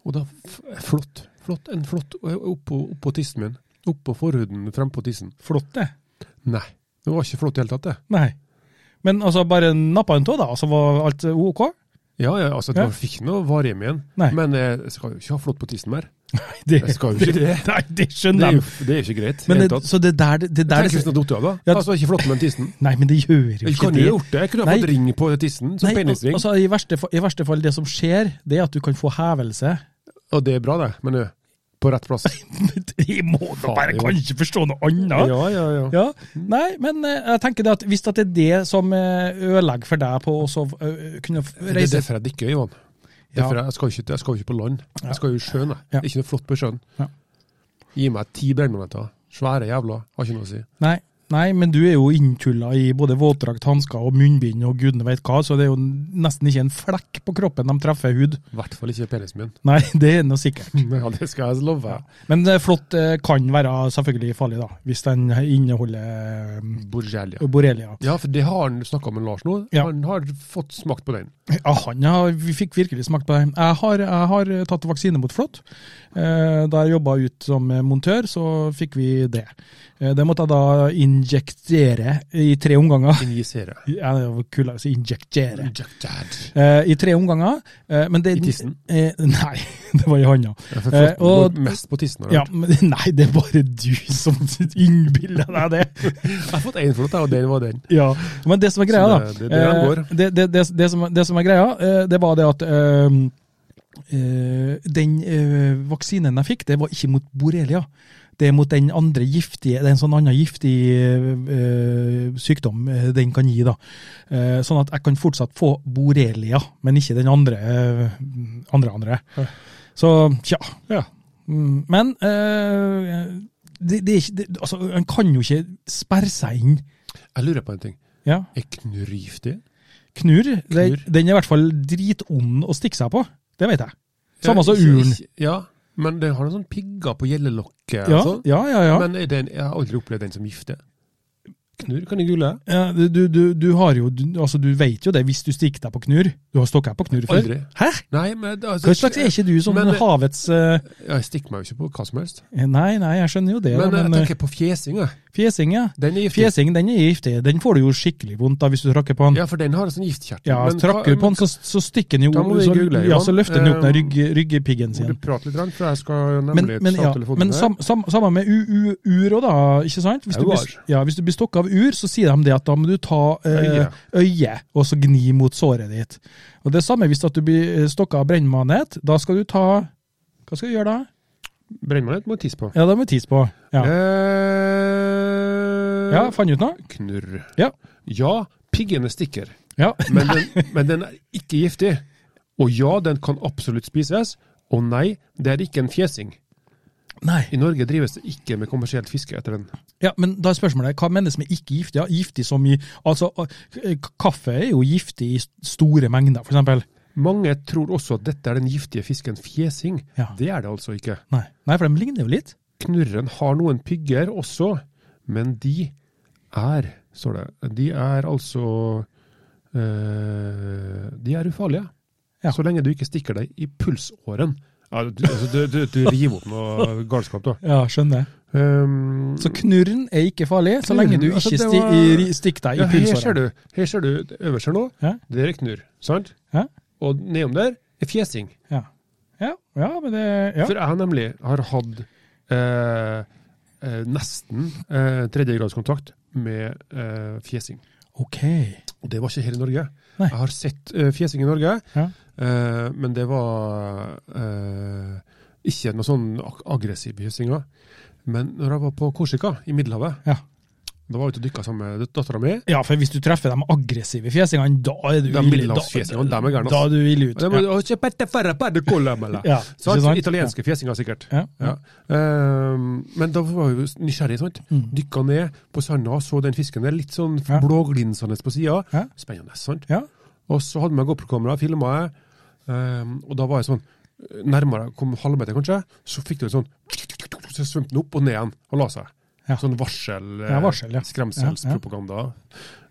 Speaker 3: og da, f- flott, flott, en flott, oppå, oppå tissen min, oppå forhuden frem på tissen.
Speaker 2: Flott, det.
Speaker 3: Nei, det var ikke flott i hele tatt det.
Speaker 2: Nei. Men altså, bare nappa en tå, da, og så var alt OK?
Speaker 3: Ja, ja, altså,
Speaker 2: Ja.
Speaker 3: det var- fikk noe varm igjen,
Speaker 2: Nei.
Speaker 3: men eh, jeg skal jo ikke ha flott på tissen mer. Det skal jo ikke
Speaker 2: *laughs*
Speaker 3: det.
Speaker 2: Nei, det
Speaker 3: Det
Speaker 2: skjønner
Speaker 3: er jo
Speaker 2: jeg.
Speaker 3: det er jo ikke greit.
Speaker 2: Men det,
Speaker 3: helt tatt.
Speaker 2: så det der, det der
Speaker 3: Tenk hvis den hadde datt av, da.
Speaker 2: Ja.
Speaker 3: Altså, ikke flott med den tissen.
Speaker 2: Nei, men det gjør jo
Speaker 3: Jeg
Speaker 2: ikke
Speaker 3: kunne
Speaker 2: det.
Speaker 3: jo gjort det. Jeg kunne ha
Speaker 2: Nei.
Speaker 3: fått ring på tissen, som
Speaker 2: Nei,
Speaker 3: penisring.
Speaker 2: Altså, i, verste, fa- I verste fall, det som skjer, det er at du kan få hevelse. *laughs*
Speaker 3: Og det er bra, det. Men ø, på rett plass.
Speaker 2: De må da
Speaker 3: bare kanskje
Speaker 2: forstå noe annet!
Speaker 3: ja, ja. ja.
Speaker 2: Ja, Nei, men eh, jeg tenker det at hvis at det er det som eh, ødelegger for deg på å sov- eh, kunne f-
Speaker 3: Det er
Speaker 2: reise
Speaker 3: derfor jeg dykker, Johan.
Speaker 2: Ja.
Speaker 3: Derfor jeg, jeg, skal jo ikke, jeg skal jo ikke på land. Jeg skal jo i sjøen. Jeg.
Speaker 2: Ja.
Speaker 3: Det er Ikke noe flott på sjøen.
Speaker 2: Ja.
Speaker 3: Gi meg ti brennmomenter. Svære jævla. Har ikke noe å si.
Speaker 2: Nei, nei, men du er jo inntulla i både våtdrakt, hansker og munnbind og gudene veit hva, så det er jo nesten ikke en flekk på kroppen de treffer hud.
Speaker 3: I hvert fall ikke penisen
Speaker 2: *laughs*
Speaker 3: min.
Speaker 2: Nei, det er nå sikkert.
Speaker 3: Ja, det skal jeg love.
Speaker 2: Men eh, flått eh, kan være selvfølgelig farlig, da, hvis den inneholder eh,
Speaker 3: Borrelia.
Speaker 2: borrelia.
Speaker 3: Ja, for det har han snakka med Lars nå.
Speaker 2: Ja.
Speaker 3: Han har fått smakt på den.
Speaker 2: Ja, han har, vi fikk virkelig smakt på det. Jeg har, jeg har tatt vaksine mot flått. Eh, Da jeg jobba ut som montør, så fikk vi det. Eh, Det måtte jeg da injektere i tre omganger. *laughs*
Speaker 3: Injisere.
Speaker 2: Ja, det var kult å si injektere.
Speaker 3: Jack Dad.
Speaker 2: Eh, I tre omganger. eh, Men det,
Speaker 3: I tissen?
Speaker 2: Eh, Nei, *laughs* det var i handa.
Speaker 3: Ja, for
Speaker 2: Eh,
Speaker 3: flott
Speaker 2: og-
Speaker 3: går mest på tissen. har jeg
Speaker 2: Ja,
Speaker 3: hørt.
Speaker 2: men *laughs* nei, det er bare du som *laughs* innbiller deg det.
Speaker 3: Jeg har fått én flott, jeg, og den var den.
Speaker 2: Ja, men det som er greia, da
Speaker 3: Så det- det- det er den går.
Speaker 2: eh, det, det, det, det, som, det som er greia, eh, det var det at ehm, eh, den eh, vaksinen jeg fikk, det var ikke mot borrelia. Det er mot den andre giftige, det er en sånn annen giftig eh, eh, sykdom eh, den kan gi. da. Eh, sånn at jeg kan fortsatt få borrelia, men ikke den andre eh, andre. andre. Så tja.
Speaker 3: Ja.
Speaker 2: Mm, Men eh, det, det er ikke, det, altså, en kan jo ikke sperre seg inn.
Speaker 3: Jeg lurer på en ting.
Speaker 2: Ja.
Speaker 3: Er knurrgiftig?
Speaker 2: Knurr, det-
Speaker 3: Knurr.
Speaker 2: den er i hvert fall dritond å stikke seg på. Det vet jeg. Samme som
Speaker 3: Ja, ikke-
Speaker 2: urn.
Speaker 3: ikke- Ja, men den har noen sånne pigger på gjellelokket. og
Speaker 2: Ja,
Speaker 3: sånn.
Speaker 2: ja, ja. ja.
Speaker 3: Men er den, jeg har aldri opplevd den som gifte. Knurr kan jeg gule.
Speaker 2: ja du, du, du har jo du, Altså, du vet jo det hvis du stikker deg på knurr. Du har stokket deg på knurr før.
Speaker 3: Aldri.
Speaker 2: Hæ?
Speaker 3: Nei, men altså,
Speaker 2: Hva slags er ikke du som
Speaker 3: Men-
Speaker 2: havets eh,
Speaker 3: Jeg stikker meg jo ikke på hva som helst.
Speaker 2: Nei, nei, jeg skjønner jo det.
Speaker 3: Men,
Speaker 2: da,
Speaker 3: jeg
Speaker 2: men eh,
Speaker 3: tenker på fjesing. jeg.
Speaker 2: fjesing, ja.
Speaker 3: Den er giftig.
Speaker 2: Fjesing, den er giftig. Den får du jo skikkelig vondt av hvis du trakker på den.
Speaker 3: Ja, for den har en sånn giftkjertel.
Speaker 2: Ja,
Speaker 3: Men hva-
Speaker 2: Trakker du på den, så, så stikker den jo
Speaker 3: Da må vi
Speaker 2: så,
Speaker 3: google,
Speaker 2: Ja,
Speaker 3: Johan.
Speaker 2: så løfter den opp den
Speaker 3: Eh,
Speaker 2: rygg, ryggpiggen
Speaker 3: Må
Speaker 2: sin.
Speaker 3: du prate litt, grann, for jeg skal nemlig
Speaker 2: Men, men,
Speaker 3: ta
Speaker 2: ja,
Speaker 3: telefonen
Speaker 2: men
Speaker 3: her.
Speaker 2: sam, sam, samme med u- u- ur òg, da. ikke sant? Hvis du,
Speaker 3: Auar.
Speaker 2: blir, ja, hvis du blir stokka av ur, så sier de det at da må du ta eh,
Speaker 3: Øyet.
Speaker 2: øyet og så gni mot såret ditt. Og Det samme hvis at du blir stokka av brennmanet. Da skal du ta Hva skal du gjøre da?
Speaker 3: Brennmanet må jeg tisse på.
Speaker 2: Ja, det må du tisse på. Ja,
Speaker 3: Eh,
Speaker 2: ja fant du ut noe?
Speaker 3: Knurr.
Speaker 2: Ja.
Speaker 3: Ja, piggene stikker.
Speaker 2: *laughs* ja.
Speaker 3: Men den, men den er ikke giftig. Og ja, den kan absolutt spises. Og nei, det er ikke en fjesing.
Speaker 2: Nei.
Speaker 3: I Norge drives det ikke med kommersielt fiske etter den.
Speaker 2: Ja, men da er spørsmålet, hva menes med ikke giftig? Ja, giftig som i, altså, eh, k- kaffe er jo giftig i s- store mengder, for eksempel.
Speaker 3: Mange tror også at dette er den giftige fisken fjesing.
Speaker 2: Ja.
Speaker 3: Det er det altså ikke.
Speaker 2: Nei, Nei for de ligner jo litt.
Speaker 3: Knurren har noen pygger også, men de er, står det, de er altså eh, De er ufarlige.
Speaker 2: Ja.
Speaker 3: Så lenge du ikke stikker deg i pulsåren. Ja, du, altså, du, du, du river opp noe galskap,
Speaker 2: *laughs*
Speaker 3: da.
Speaker 2: Ja, skjønner.
Speaker 3: Um,
Speaker 2: Så knurren er ikke farlig, så lenge
Speaker 3: Knurren,
Speaker 2: du ikke
Speaker 3: altså, det
Speaker 2: sti
Speaker 3: var-
Speaker 2: i- ri- stikker deg i
Speaker 3: Ja, her ser
Speaker 2: pulsåret.
Speaker 3: du, her ser du det øverst her nå,
Speaker 2: Ja.
Speaker 3: det er knurr, sant?
Speaker 2: Ja.
Speaker 3: Og nedom der er fjesing.
Speaker 2: Ja. Ja, ja, men det, ja.
Speaker 3: For jeg nemlig har hatt eh, eh, nesten eh, tredjegradskontakt med eh, fjesing.
Speaker 2: Ok.
Speaker 3: Og det var ikke her i Norge.
Speaker 2: Nei.
Speaker 3: Jeg har sett eh, fjesing i Norge,
Speaker 2: Ja.
Speaker 3: eh, men det var eh, ikke noe sånn ag- aggressiv fjesing. da. Men når jeg var på Korsika, i Middelhavet,
Speaker 2: Ja.
Speaker 3: da var jeg ute og dykka sammen med dattera mi.
Speaker 2: ja, for hvis du treffer de aggressive fjesingene, da er du
Speaker 3: De
Speaker 2: ille-
Speaker 3: middelhavsfjesingene,
Speaker 2: da-
Speaker 3: de er gærne, ass.
Speaker 2: Da er du ille ut.
Speaker 3: Og det må- og ikke pette færre, pette kolla, mella.
Speaker 2: Ja,
Speaker 3: Sant?
Speaker 2: ikke sant?
Speaker 3: Italienske fjesinga, sikkert.
Speaker 2: Ja.
Speaker 3: Ja. Ehm, men da var vi jo nysgjerrige, sant. Dykka ned på sanda, så den fisken der, litt sånn
Speaker 2: Mm. Ja.
Speaker 3: blåglinsende på sida.
Speaker 2: Ja.
Speaker 3: Spennende, sant.
Speaker 2: Ja.
Speaker 3: Og så hadde vi GoPro-kamera, filma jeg, ehm, og da var jeg sånn Nærmere, kom halvmeter kanskje, så fikk du en sånn Så svømte den opp og ned igjen, og la seg.
Speaker 2: Ja.
Speaker 3: Sånn varsel, eh,
Speaker 2: Ja, varsel, ja.
Speaker 3: skremselspropaganda.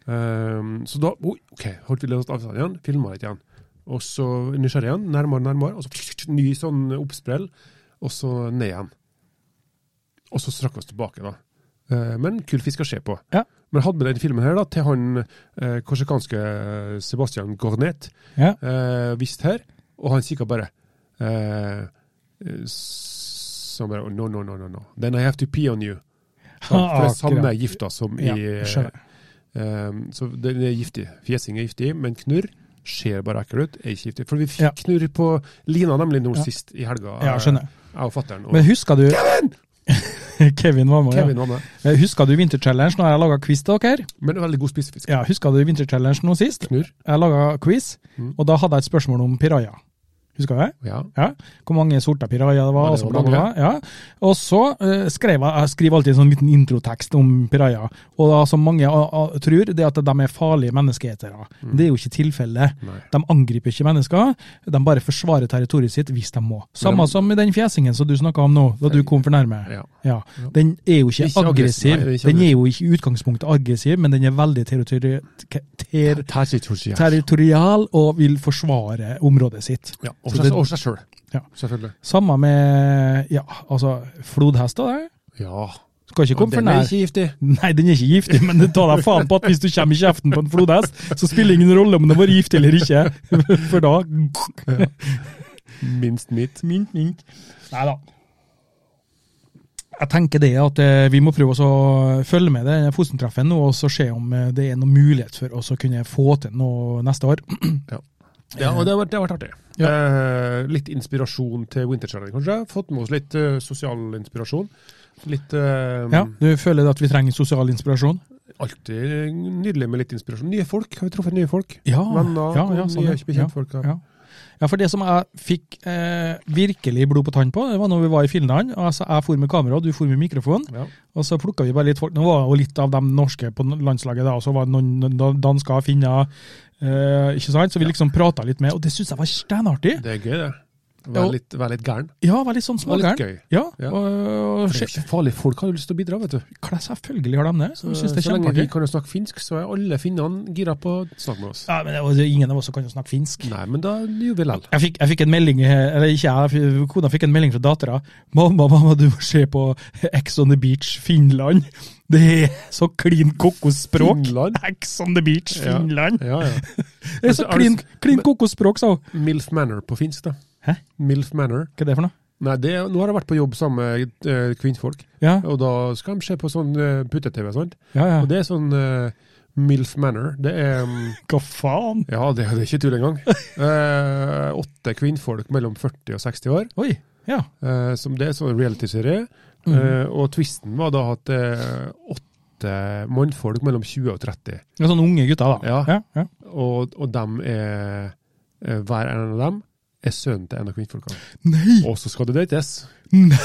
Speaker 3: Ehm, så da oi, ok, holdt vi litt avstand igjen, filma litt igjen. Og så nysgjerrig igjen, nærmere, nærmere, og så ny sånn oppsprell, og så ned igjen. Og så strakk vi oss tilbake, da. Eh, Men kul fisk å se på.
Speaker 2: Ja.
Speaker 3: Men jeg hadde med den filmen her da, til han eh, korsikanske eh, Sebastian Gornet
Speaker 2: Ja.
Speaker 3: eh, visst her, og han kikka bare eh, s- Så bare no, no, no, no, no. Then I have to pee on you. Ja, for det er samme gifta som i
Speaker 2: Ja, skjønner.
Speaker 3: ehm, Så den er giftig. Fjesing er giftig, men knurr ser bare ekkelt ut. Er ikke giftig. For vi fikk
Speaker 2: Ja.
Speaker 3: knurr på Lina nemlig nå
Speaker 2: Ja.
Speaker 3: sist i helga.
Speaker 2: Ja, skjønner.
Speaker 3: Jeg og fatter'n. Og
Speaker 2: Men husker du *laughs* Kevin var med, ja.
Speaker 3: Kevin var med.
Speaker 2: Eh, Husker du Vinterchallenge? Nå har jeg laga quiz til dere.
Speaker 3: Men veldig god spisefisk.
Speaker 2: Ja, Husker du Vinterchallenge nå sist?
Speaker 3: Knurr. Mm.
Speaker 2: Jeg laga quiz, og da hadde jeg et spørsmål om piraja. Husker du det?
Speaker 3: Ja.
Speaker 2: Ja. Hvor mange sorter piraja det var.
Speaker 3: Ja,
Speaker 2: og
Speaker 3: det
Speaker 2: så
Speaker 3: var
Speaker 2: bla, bla,
Speaker 3: mange.
Speaker 2: bla. Ja. Og så eh, skrev jeg, jeg skriver alltid en sånn liten introtekst om piraja. Og da, som mange ah, ah, tror, det at de er farlige menneskeetere. Det er jo ikke tilfellet.
Speaker 3: Mm. Nei.
Speaker 2: De angriper ikke mennesker, de bare forsvarer territoriet sitt hvis de må. Samme som i den fjesingen som du snakka om nå, da du kom for nærme.
Speaker 3: Ja.
Speaker 2: Ja. Den er jo ikke,
Speaker 3: Ikke
Speaker 2: aggressiv.
Speaker 3: aggressiv. Nei, den er ikke
Speaker 2: Den er jo ikke i utgangspunktet aggressiv, men den er veldig territori ter
Speaker 3: Territorial.
Speaker 2: territorial og vil forsvare området sitt.
Speaker 3: Ja, og
Speaker 2: Så
Speaker 3: seg-
Speaker 2: det-
Speaker 3: og seg sjøl.
Speaker 2: Ja.
Speaker 3: Selvfølgelig.
Speaker 2: Samme med ja, altså, flodhester. det.
Speaker 3: Ja.
Speaker 2: Skal ikke komme for
Speaker 3: Den er
Speaker 2: nær.
Speaker 3: ikke giftig.
Speaker 2: *laughs* Nei, den er ikke giftig, men det tar deg faen på at hvis du kommer i kjeften på en flodhest, så spiller det ingen rolle om den har vært gift eller ikke. *laughs* For da
Speaker 3: Minst mitt.
Speaker 2: Mink, mink. Nei da. Jeg tenker det at eh, vi må prøve å så følge med det Fosen-treffen nå, og så se om eh, det er noen mulighet for oss å kunne få til noe neste år. *clears throat*
Speaker 3: Ja, og det har vært, det har vært artig.
Speaker 2: Ja.
Speaker 3: Eh, litt inspirasjon til Winter Challenge, kanskje. Fått med oss litt eh, sosial inspirasjon. Litt eh,
Speaker 2: Ja, Du føler at vi trenger sosial inspirasjon?
Speaker 3: Alltid nydelig med litt inspirasjon. Nye folk. Har vi truffet nye folk?
Speaker 2: Ja,
Speaker 3: Venner
Speaker 2: ja, ja,
Speaker 3: og
Speaker 2: sånn,
Speaker 3: nye
Speaker 2: ja.
Speaker 3: bekjentfolk.
Speaker 2: Ja. Ja, for det som jeg fikk eh, virkelig blod på tann på, det var når vi var i Finland. Altså, jeg for med kamera, og du for med mikrofon.
Speaker 3: Ja.
Speaker 2: Og så plukka vi bare litt folk. Nå var det jo litt av de norske på landslaget, da, og så var det noen noen dansker, finner, eh, ikke sant? Så vi liksom prata litt med, og det syns jeg var steinartig.
Speaker 3: Det er gøy, det.
Speaker 2: Ja.
Speaker 3: Være litt, vær litt gæren.
Speaker 2: Ja, var litt sånn
Speaker 3: Vær litt
Speaker 2: smågæren.
Speaker 3: gøy.
Speaker 2: Ja,
Speaker 3: Ja.
Speaker 2: og, og
Speaker 3: Det er ikke farlig. Folk har jo lyst til å bidra, vet du.
Speaker 2: kla- selvfølgelig har de det. Så, synes det er
Speaker 3: så lenge vi
Speaker 2: kjempeartig.
Speaker 3: kan jo snakke finsk, så er alle finnene gira på å snakke med oss.
Speaker 2: Ja, men det var, ingen av oss som kan jo snakke finsk.
Speaker 3: Nei, men da gjør vi
Speaker 2: *laughs*
Speaker 3: lell.
Speaker 2: Jeg fikk, jeg fikk en melding, eh, eller ikke jeg, f- kona fikk en melding fra dattera. 'Mamma, mamma, du må se på Ex on the Beach Finland'. Det er så klin kokosspråk.
Speaker 3: Finland?
Speaker 2: Ex on the Beach
Speaker 3: Ja.
Speaker 2: Finland.
Speaker 3: Ja, ja.
Speaker 2: Det er så
Speaker 3: Altså, har du
Speaker 2: klin,
Speaker 3: s-
Speaker 2: klin kokosspråk, sa hun.
Speaker 3: Milf Manor på finsk, da.
Speaker 2: Hæ?
Speaker 3: Milf Manor.
Speaker 2: Hva er det for noe?
Speaker 3: Nei, det, er- nå har jeg vært på jobb sammen med eh, kvinnfolk,
Speaker 2: Ja,
Speaker 3: og da skal de se på sånn eh, putte-TV, sant?
Speaker 2: ja, ja.
Speaker 3: Og det er sånn eh, Milf Manor. Det er mm,
Speaker 2: Hva faen?
Speaker 3: Ja, det, det er ikke tull engang. Eh, åtte kvinnfolk mellom 40 og 60 år,
Speaker 2: Oi, ja.
Speaker 3: eh, som det er sånn reality-serie. Eh, og twisten var da at eh, åtte mannfolk mellom 20 og 30,
Speaker 2: Det er sånne unge gutter, da.
Speaker 3: Ja.
Speaker 2: Ja, ja.
Speaker 3: og, og dem er eh, Hver en av dem er sønnen til en av kvinnfolkene.
Speaker 2: Nei!
Speaker 3: Og så skal det dates.
Speaker 2: Nei.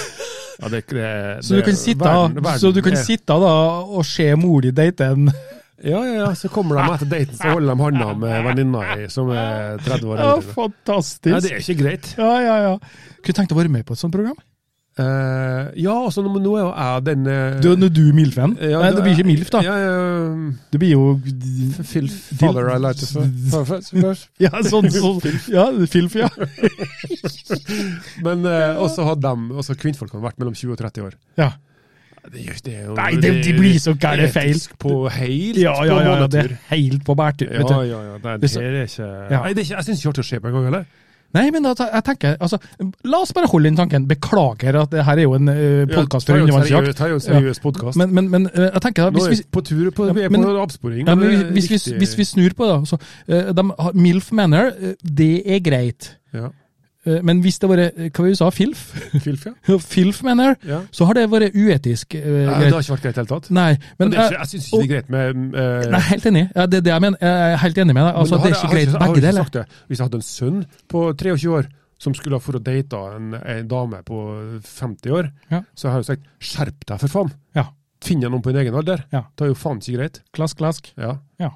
Speaker 3: Ja, det, er ikke- det,
Speaker 2: Så du
Speaker 3: det-
Speaker 2: kan sitte,
Speaker 3: verden- verden
Speaker 2: så du kan
Speaker 3: er-
Speaker 2: sitte da og se mor di date en
Speaker 3: Ja, ja, ja, så kommer de etter daten, så holder de handa med venninna i, som er 30 år
Speaker 2: Ja,
Speaker 3: eldre. Ja, det
Speaker 2: fantastisk!
Speaker 3: er ikke greit.
Speaker 2: Ja, ja, ja. Kunne tenkt å være med på et sånt program.
Speaker 3: Eh, ja, altså, nå nå er jo jeg den eh,
Speaker 2: Du, når du er milfen?
Speaker 3: ja,
Speaker 2: Nei,
Speaker 3: da-
Speaker 2: det blir ikke milf, da.
Speaker 3: Ja, ja,
Speaker 2: Det blir jo
Speaker 3: Phil Father I like to first.
Speaker 2: Ja, sånn, sånn Ja, filf, ja.
Speaker 3: Men eh, også har dem, også kvinnfolkene vært mellom 20 og 30 år.
Speaker 2: ja.
Speaker 3: Det, er jo- det er jo,
Speaker 2: Nei, de- de blir så gærne feil.
Speaker 3: Etisk på helt
Speaker 2: Ja, ja, ja, ja,
Speaker 3: på
Speaker 2: det er
Speaker 3: månedstur.
Speaker 2: helt på bærtur. vet
Speaker 3: Ja,
Speaker 2: du.
Speaker 3: ja, ja. Nei,
Speaker 2: Hvis-
Speaker 3: det er ikke
Speaker 2: Ja.
Speaker 3: Nei, det er ikke, jeg syns ikke det er artig å se på engang, heller.
Speaker 2: Nei, men da, jeg tenker, altså, la oss bare holde inn tanken. Beklager at det her er jo en uh, podkast for undervannsjakt.
Speaker 3: Det er jo en seriøs podkast.
Speaker 2: Men, men, men eh, jeg tenker da,
Speaker 3: Nå
Speaker 2: hvis
Speaker 3: er
Speaker 2: vi
Speaker 3: vi på tur på,
Speaker 2: Ja,
Speaker 3: vi er
Speaker 2: men-
Speaker 3: på avsporing.
Speaker 2: ja, men
Speaker 3: det
Speaker 2: hvis,
Speaker 3: er
Speaker 2: hvis, hvis,
Speaker 3: riktig-
Speaker 2: hvis vi snur på det, da, så eh, de, har- Milf Manor, eh, det er greit.
Speaker 3: ja.
Speaker 2: Eh, men hvis det var eh, Hva vi sa Filf? *laughs*
Speaker 3: Filf, ja.
Speaker 2: Filf Manor,
Speaker 3: ja.
Speaker 2: så har det vært uetisk. eh,
Speaker 3: Nei,
Speaker 2: greit.
Speaker 3: det har ikke vært greit i det hele tatt.
Speaker 2: Nei, men
Speaker 3: Men det er
Speaker 2: eh,
Speaker 3: ikke, jeg syns ikke det er greit med eh,
Speaker 2: Nei, helt enig. Ja, det er det jeg mener. Jeg er helt enig med deg. Altså, det
Speaker 3: Men har
Speaker 2: er
Speaker 3: jeg-
Speaker 2: ikke greit
Speaker 3: jeg har ikke-
Speaker 2: begge
Speaker 3: jeg har
Speaker 2: deler.
Speaker 3: ikke sagt det. Hvis jeg hadde en sønn på 23 år som skulle ha for å date en, en dame på 50 år,
Speaker 2: Ja.
Speaker 3: så har jeg jo sagt skjerp deg, for faen!
Speaker 2: Ja.
Speaker 3: Finner jeg noen på din egen alder?
Speaker 2: Ja.
Speaker 3: Det er jo faen ikke greit.
Speaker 2: Klask, klask.
Speaker 3: Ja.
Speaker 2: Ja.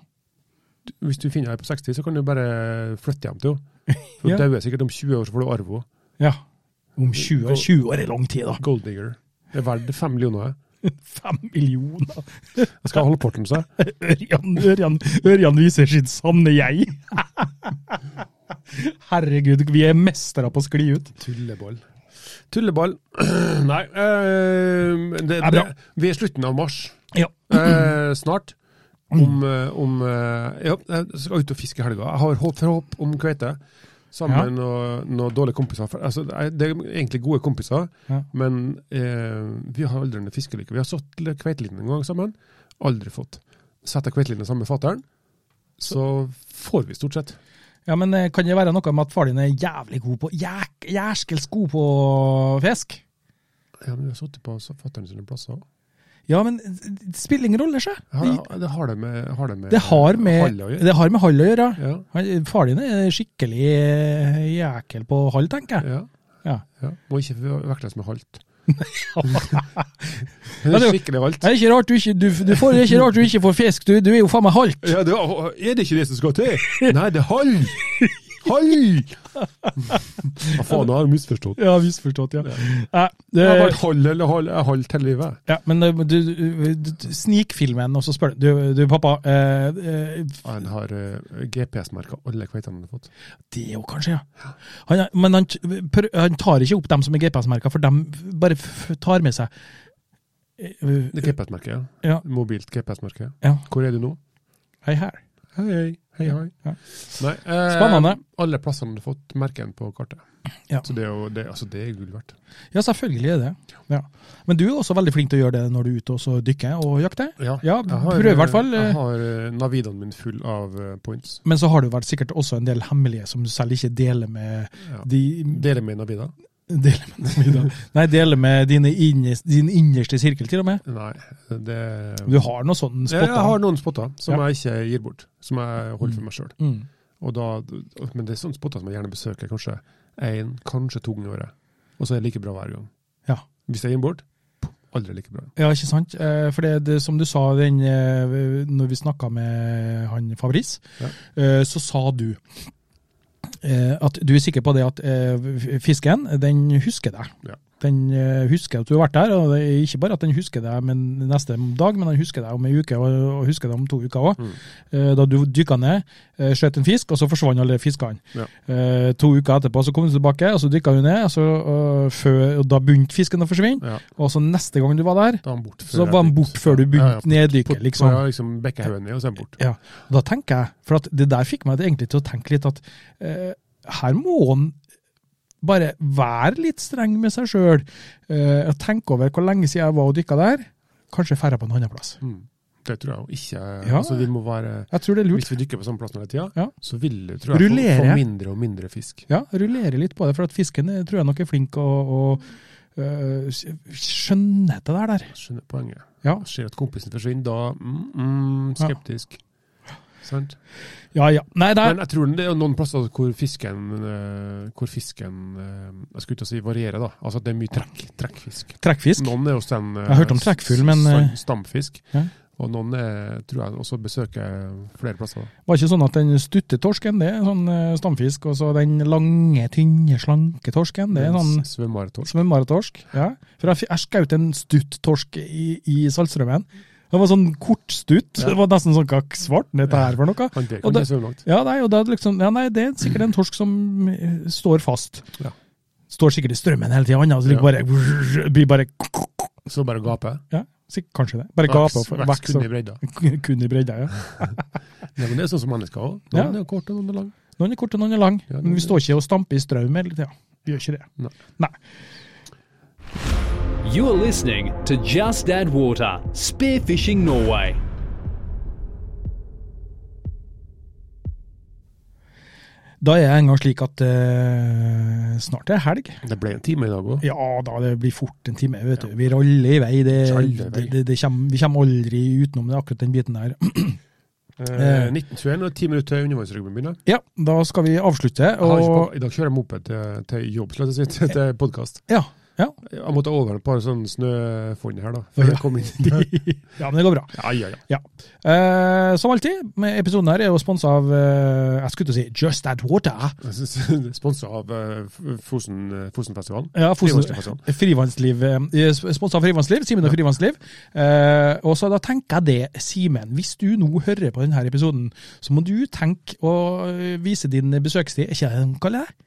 Speaker 3: Du- Hvis du finner ei på 60, så kan du bare flytte hjem
Speaker 2: *laughs*
Speaker 3: til henne. For
Speaker 2: Ja.
Speaker 3: Hun dauer sikkert om 20 år, så får du arve henne.
Speaker 2: Ja. Om 20 år. 20 år er lang tid, da.
Speaker 3: Golddigger. Det er verdt fem millioner.
Speaker 2: Fem millioner.
Speaker 3: Jeg skal holde porten seg.
Speaker 2: Ørjan, Ørjan, Ørjan viser sitt sanne jeg. *laughs* Herregud, vi er mestere på å skli ut.
Speaker 3: Tulleball. Tulleball. *clears throat* Nei, eh, det,
Speaker 2: er bra.
Speaker 3: det, vi er i slutten av mars.
Speaker 2: Ja.
Speaker 3: Eh, snart.
Speaker 2: Mm.
Speaker 3: Om, eh, om eh, Ja, jeg skal ut og fiske i helga. Jeg har håp for håp om kveite. sammen og noen dårlige kompiser. For, altså, det er- det er egentlig gode kompiser,
Speaker 2: Ja.
Speaker 3: men eh, vi har aldri en fiskelykke. Vi har satt litt kveitelinje en gang sammen, aldri fått. Setter kveitelinje sammen med fatteren, så får vi stort sett.
Speaker 2: Ja, men eh, Kan det være noe med at far din er jævlig god på jæk, jæskels god på fisk?
Speaker 3: Ja, men vi har sittet på fatteren sine plasser òg.
Speaker 2: Ja, men eh, det spiller ingen rolle, sjø.
Speaker 3: Har, det har det med, har det med
Speaker 2: Det har med,
Speaker 3: Hall å gjøre.
Speaker 2: det har med hall å gjøre.
Speaker 3: Ja,
Speaker 2: Han- Far din er skikkelig eh, jækel på hall, tenker jeg.
Speaker 3: ja,
Speaker 2: Ja.
Speaker 3: ja. Må ikke vekles med *laughs* halt.
Speaker 2: Men
Speaker 3: det
Speaker 2: det-
Speaker 3: er skikkelig halt.
Speaker 2: Det er ikke rart du ikke, du, du får, det er ikke rart du ikke får fisk, du, du er jo faen meg halt.
Speaker 3: Ja, det var, er det ikke det som skal til? Nei, det er hall! Hall! Hva faen, jeg har misforstått. Eh,
Speaker 2: Ja, misforstått, ja. Nei, det,
Speaker 3: Jeg har vært hall eller hall, jeg har holdt hele livet.
Speaker 2: ja men eh, du, du, du, du snikfilmen, og så spør du, du, du pappa, eh, eh,
Speaker 3: Han har GPS-merka alle kveitene han har fått.
Speaker 2: det er jo kanskje, ja. Han, er- men han, t- prø- han tar ikke opp dem som er GPS-merka, for dem bare f tar med seg. Eh,
Speaker 3: Det er GPS-merket, ja.
Speaker 2: Ja.
Speaker 3: Mobilt GPS-merke.
Speaker 2: Ja,
Speaker 3: Hvor er du nå?
Speaker 2: hei her.
Speaker 3: Hei, hei. Hei, hei.
Speaker 2: Ja.
Speaker 3: Nei, eh,
Speaker 2: Spennende.
Speaker 3: Alle plassene han har fått merken på kartet.
Speaker 2: Ja.
Speaker 3: Så det er jo det, altså, det er gull verdt.
Speaker 2: Ja, selvfølgelig er det. Ja. Men du er også veldig flink til å gjøre det når du er ute og så dykker og jakter. Ja,
Speaker 3: jeg har,
Speaker 2: prøv i hvert fall, eh.
Speaker 3: Jeg har eh, navidaen min full av eh, points.
Speaker 2: Men så har det jo vært sikkert også en del hemmelige som du selv ikke deler med
Speaker 3: Ja.
Speaker 2: de
Speaker 3: Dere med navida?
Speaker 2: deler med, dem i dag. Nei, deler med dine innes, din innerste sirkel, til og med.
Speaker 3: Nei, det
Speaker 2: Du har noe sånn
Speaker 3: Ja,
Speaker 2: spotter.
Speaker 3: Jeg har noen spotter som
Speaker 2: Ja.
Speaker 3: jeg ikke gir bort, som jeg holder for meg sjøl.
Speaker 2: Mm.
Speaker 3: Men det er sånne spotter som jeg gjerne besøker kanskje én, kanskje to ganger i året. Og så er det like bra hver gang.
Speaker 2: Ja.
Speaker 3: Hvis jeg gir den bort, aldri like bra.
Speaker 2: ja, ikke sant? Eh, For det, det som du sa den, eh, når vi snakka med han Fabrice,
Speaker 3: Ja.
Speaker 2: eh, så sa du eh, at du er sikker på det at eh, fisken, den husker deg.
Speaker 3: Ja.
Speaker 2: Den eh, husker at du har vært der, og det er ikke bare at den husker deg men neste dag, men den husker deg om ei uke og og husker deg om to uker òg.
Speaker 3: Mm.
Speaker 2: Da du dykka ned, eh, skjøt en fisk, og så forsvant alle fiskene.
Speaker 3: Ja.
Speaker 2: Eh, To uker etterpå så kom du tilbake, og så dykka du ned, og, så, øh, før, og da begynte fisken å forsvinne.
Speaker 3: Ja,
Speaker 2: Og så neste gang du var der,
Speaker 3: da er han bort før
Speaker 2: så
Speaker 3: jeg
Speaker 2: var den
Speaker 3: dykker.
Speaker 2: borte før du
Speaker 3: Ja, ja,
Speaker 2: begynte neddykke,
Speaker 3: på-
Speaker 2: liksom.
Speaker 3: Ja, liksom bekkehaugen ned, og så er han borte.
Speaker 2: Ja, og da tenker jeg, for at det der fikk meg egentlig til å tenke litt at eh, her må han bare være litt streng med seg sjøl. Eh, og tenke over hvor lenge siden jeg var og dykka der. Kanskje færre på en annen plass.
Speaker 3: Mm. Det tror jeg jo ikke
Speaker 2: Ja.
Speaker 3: altså, vi må være,
Speaker 2: Jeg tror det er lurt.
Speaker 3: Hvis vi dykker på samme plassen hele tida,
Speaker 2: Ja.
Speaker 3: så vil du tror jeg, få,
Speaker 2: Rullere.
Speaker 3: få mindre og mindre fisk.
Speaker 2: Ja, rullere litt på det, for at fisken eh, tror jeg nok er flink og, og eh, skjønner det der. der.
Speaker 3: Jeg skjønner poenget.
Speaker 2: Ja.
Speaker 3: Jeg Ser at kompisen forsvinner, da mm, mm,
Speaker 2: Ja.
Speaker 3: skeptisk. Sant?
Speaker 2: ja, ja. Nei, nei.
Speaker 3: Men jeg tror det er noen plasser hvor fisken, eh, hvor fisken eh, jeg skulle ikke si varierer, da. Altså at det er mye trekk, trekkfisk.
Speaker 2: Trekkfisk.
Speaker 3: Noen er hos den eh,
Speaker 2: Jeg har hørt om trekkfugl, men, eh,
Speaker 3: stam- Stamfisk.
Speaker 2: ja.
Speaker 3: Og noen er, tror jeg også besøker flere plasser. da.
Speaker 2: Var ikke sånn at den stuttetorsken, det er sånn eh, stamfisk, og så den lange, tynne, slanke torsken, det er sånn
Speaker 3: S- Svømmartorsk.
Speaker 2: svømmertorsk. Ja. For jeg, f- jeg skjøt en stuttorsk i, i Saltstraumen. Det var sånn kortstutt.
Speaker 3: Ja.
Speaker 2: Det var nesten sånn hva svart er dette her for noe?
Speaker 3: Han der
Speaker 2: Og
Speaker 3: kan
Speaker 2: det-
Speaker 3: ikke svømme langt.
Speaker 2: Ja, nei, og da er det liksom, ja, nei, det er sikkert en torsk som eh, står fast.
Speaker 3: Ja.
Speaker 2: Står sikkert i strømmen hele tida, så det
Speaker 3: Ja.
Speaker 2: bare, blir bare
Speaker 3: Så bare gape.
Speaker 2: ja, sikkert, Kanskje det. Bare gaper. for-
Speaker 3: Vekst
Speaker 2: vekst
Speaker 3: kun i
Speaker 2: og-
Speaker 3: bredda.
Speaker 2: Kun i bredda, ja.
Speaker 3: Nei, men det er sånn som mennesker òg.
Speaker 2: Ja.
Speaker 3: Noen er korte, noen er lange.
Speaker 2: Noen er korte, noen er lange.
Speaker 3: Ja, noen
Speaker 2: men vi
Speaker 3: er-
Speaker 2: står ikke og stamper i strøm hele tida. Vi gjør ikke det.
Speaker 3: Nei.
Speaker 1: You're listening to Just Add Water Spearfishing Norway.
Speaker 2: Da er jeg en gang slik at eh, snart er det helg.
Speaker 3: Det ble en time i dag òg.
Speaker 2: Ja da, det blir fort en time. vet du. Vi raller i vei. Det,
Speaker 3: Raller i vei.
Speaker 2: det, det, det kommer, vi kommer aldri utenom det, akkurat den biten der. *clears throat*
Speaker 3: Eh, 1921 og ti minutter til undervannsrugbyen begynner.
Speaker 2: Ja, da skal vi avslutte.
Speaker 3: Jeg har ikke
Speaker 2: Og,
Speaker 3: pakket- I dag kjører jeg moped til, til jobb, slett å si, til podkast.
Speaker 2: ja, ja.
Speaker 3: Jeg måtte over et par sånne snøfonn her, da.
Speaker 2: *laughs* Ja.
Speaker 3: Før jeg kom inn dit.
Speaker 2: ja, men det går bra.
Speaker 3: Ja, ja, ja.
Speaker 2: Ja. Eh, som alltid, med episoden her er jo sponsa av eh, Jeg skulle til å si Just That Water.
Speaker 3: Sponsa av eh, F- Fosen, eh, Fosenfestivalen.
Speaker 2: Ja, Fosen,
Speaker 3: Frivannsfestivalen.
Speaker 2: Frivannsliv. eh, Sponsa av Frivannsliv, Simen og Frivannsliv. Eh, og så da tenker jeg det, Simen. Hvis du nå hører på denne episoden, så må du tenke og eh, vise din besøkstid. Er ikke det de kaller det?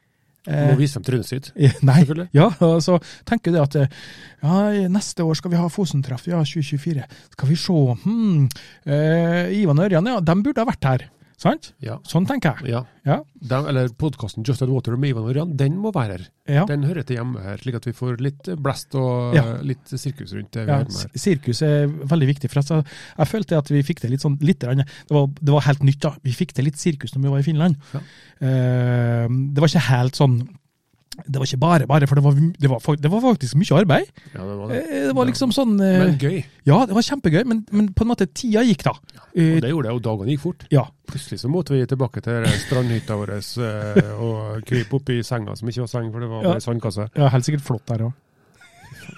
Speaker 3: Må vise dem trynet sitt.
Speaker 2: Eh, Nei.
Speaker 3: Selvfølgelig.
Speaker 2: Ja, og så tenker du det at eh, ja, neste år skal vi ha Fosentreff, ja, 2024. Skal vi se hmm. eh, Ivan og Ørjan, ja, de burde ha vært her. Sant?
Speaker 3: Ja.
Speaker 2: Sånn tenker jeg.
Speaker 3: ja.
Speaker 2: Ja.
Speaker 3: Den, eller podkasten Just Add Water med Ivan og Ørjan, den må være her.
Speaker 2: ja.
Speaker 3: Den hører til hjemme her, slik at vi får litt blest og
Speaker 2: Ja.
Speaker 3: eh, litt sirkus rundt det vi
Speaker 2: Ja,
Speaker 3: hører med
Speaker 2: s-
Speaker 3: her.
Speaker 2: sirkus er veldig viktig. for altså, Jeg følte at vi fikk det litt sånn litt, grann- det, var, det var helt nytt, da. Vi fikk til litt sirkus når vi var i Finland.
Speaker 3: Ja.
Speaker 2: Eh, det var ikke helt sånn Det var ikke bare bare, for det var, det var, fak- det var faktisk mye arbeid.
Speaker 3: Ja, det var det.
Speaker 2: Eh, det var liksom sånn eh,
Speaker 3: Men gøy.
Speaker 2: Ja, det var kjempegøy, men, men på en måte tida gikk, da.
Speaker 3: Og
Speaker 2: Eh,
Speaker 3: det gjorde det, og dagene gikk fort.
Speaker 2: ja.
Speaker 3: Plutselig så måtte vi tilbake til strandhytta vår eh, og krype opp i senga som ikke var seng, for det var
Speaker 2: Ja.
Speaker 3: bare sandkasse.
Speaker 2: ja, helt sikkert flott der òg.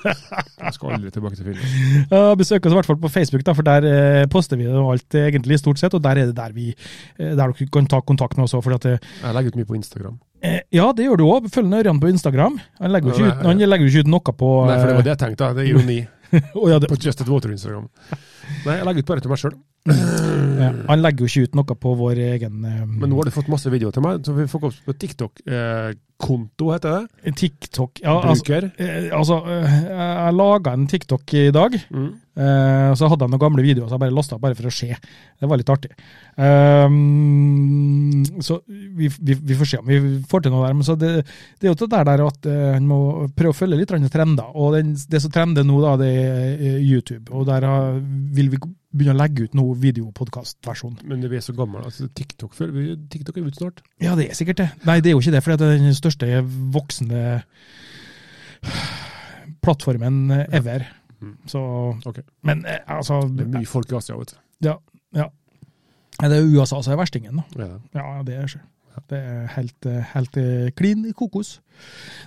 Speaker 3: Jeg skal aldri tilbake til Finland.
Speaker 2: Ja, Besøk oss i hvert fall på Facebook, da, for der eh, poster vi det og alt eh, egentlig stort sett. Og der er det der vi eh, der dere kan ta kontakt med oss òg.
Speaker 3: Jeg legger ut mye på Instagram.
Speaker 2: Eh, ja, det gjør du òg. Følg nå Ørjan på Instagram. Han legger jo ikke,
Speaker 3: Ja,
Speaker 2: ut-
Speaker 3: nei,
Speaker 2: han legger jo ikke ut noe på eh,
Speaker 3: Nei, for det var det jeg tenkte, det er ironi.
Speaker 2: *laughs* Å, ja, det,
Speaker 3: På Just At Water-Instagram. Nei, jeg legger ut bare til meg sjøl.
Speaker 2: ja, han legger jo ikke ut noe på vår egen eh,
Speaker 3: Men nå har du fått masse videoer til meg, så vi får gå opp på TikTok-konto, heter det.
Speaker 2: TikTok. Ja, altså,
Speaker 3: Bruker.
Speaker 2: eh, altså eh, jeg laga en TikTok i dag.
Speaker 3: Mm.
Speaker 2: Eh, og så hadde jeg noen gamle videoer som jeg bare lasta opp bare for å se. Det var litt artig. Ehm, så vi, vi, vi får se om vi får til noe der. Men så det, det er jo det der, der at eh, en må prøve å følge litt andre trender. Og den, det som trender nå, da, det er eh, YouTube. Og der har, vil vi begynne å legge ut noe videopodkastversjon.
Speaker 3: Men vi er så gamle. Altså, TikTok, før, vi, TikTok er ute snart.
Speaker 2: Ja, det er sikkert det. Nei, det er jo ikke det, for det er den største voksende plattformen ever.
Speaker 3: Mm.
Speaker 2: Så
Speaker 3: Ok.
Speaker 2: Men eh, altså
Speaker 3: Det er mye folk i Asia, vet du.
Speaker 2: Ja. ja. Nei, Det er USA som er verstingen, da.
Speaker 3: Ja, det.
Speaker 2: Ja, det er sure. Det er helt, eh, helt eh, klin kokos.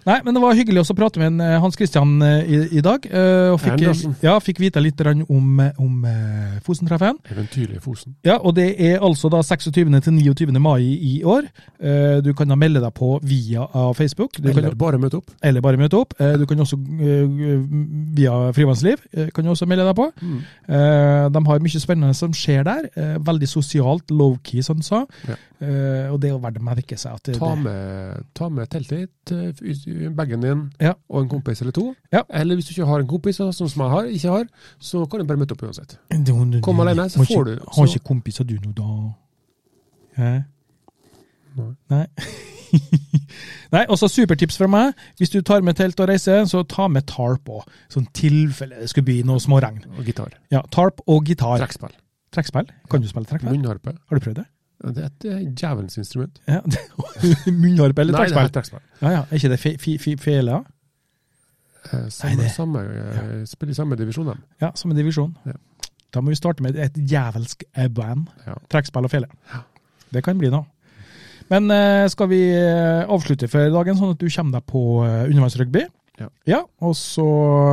Speaker 2: Nei, men det var hyggelig også å prate med en, eh, Hans Christian eh, i, i dag. eh, Og fikk,
Speaker 3: Andersen.
Speaker 2: ja, fikk vite litt grann om, eh, om eh, Fosen-treffet.
Speaker 3: Eventyrlige Fosen.
Speaker 2: Ja, og det er altså da 26. til 29. mai i år. Eh, Du kan da melde deg på via av Facebook. Du kan,
Speaker 3: Eller bare møte opp.
Speaker 2: eller bare møte opp. Eh, Du kan også eh, via Frivannsliv eh, kan du også melde deg på.
Speaker 3: Mm.
Speaker 2: Eh, De har mye spennende som skjer der. Eh, Veldig sosialt, low-key, som du sa.
Speaker 3: Ja.
Speaker 2: Eh, Og det er jo verdt å merke seg. at det,
Speaker 3: Ta
Speaker 2: det,
Speaker 3: med, ta med teltet ditt, eh, bagen din
Speaker 2: Ja.
Speaker 3: og en kompis eller to.
Speaker 2: Ja.
Speaker 3: Eller hvis du ikke har en kompis, sånn som jeg har, ikke har, så kan du bare møte opp uansett.
Speaker 2: det-
Speaker 3: Kom alene, så
Speaker 2: Har
Speaker 3: får
Speaker 2: ikke-
Speaker 3: du-
Speaker 2: Har
Speaker 3: så-
Speaker 2: ikke kompiser du nå, da? Hæ?
Speaker 3: Nei.
Speaker 2: Nei. *laughs* Nei, også supertips fra meg. Hvis du tar med telt og reiser, så ta med tarp òg. Sånn tilfelle det skulle bli noe småregn.
Speaker 3: Og gitar.
Speaker 2: Ja, tarp og gitar.
Speaker 3: Trekkspill.
Speaker 2: Trekkspill? Kan du spille trekkspill?
Speaker 3: Munnharpe.
Speaker 2: Har du prøvd det?
Speaker 3: Det er et eh, djevelens instrument.
Speaker 2: Ja. *laughs* Munnharpe eller
Speaker 3: Nei, det
Speaker 2: trekkspill?
Speaker 3: er et trekkspill.
Speaker 2: Ja, ja. Er ikke det fe- fi- fi- fele? da?
Speaker 3: Eh, Samme,
Speaker 2: Nei, det-
Speaker 3: samme, eh, Spiller i samme divisjon, dem.
Speaker 2: Ja, som en divisjon.
Speaker 3: Ja.
Speaker 2: Da må vi starte med et jævelsk band.
Speaker 3: Ja.
Speaker 2: Trekkspill og fele. Det kan bli noe. Men eh, skal vi eh, avslutte for dagen, sånn at du kommer deg på eh, undervannsrugby?
Speaker 3: Ja.
Speaker 2: og så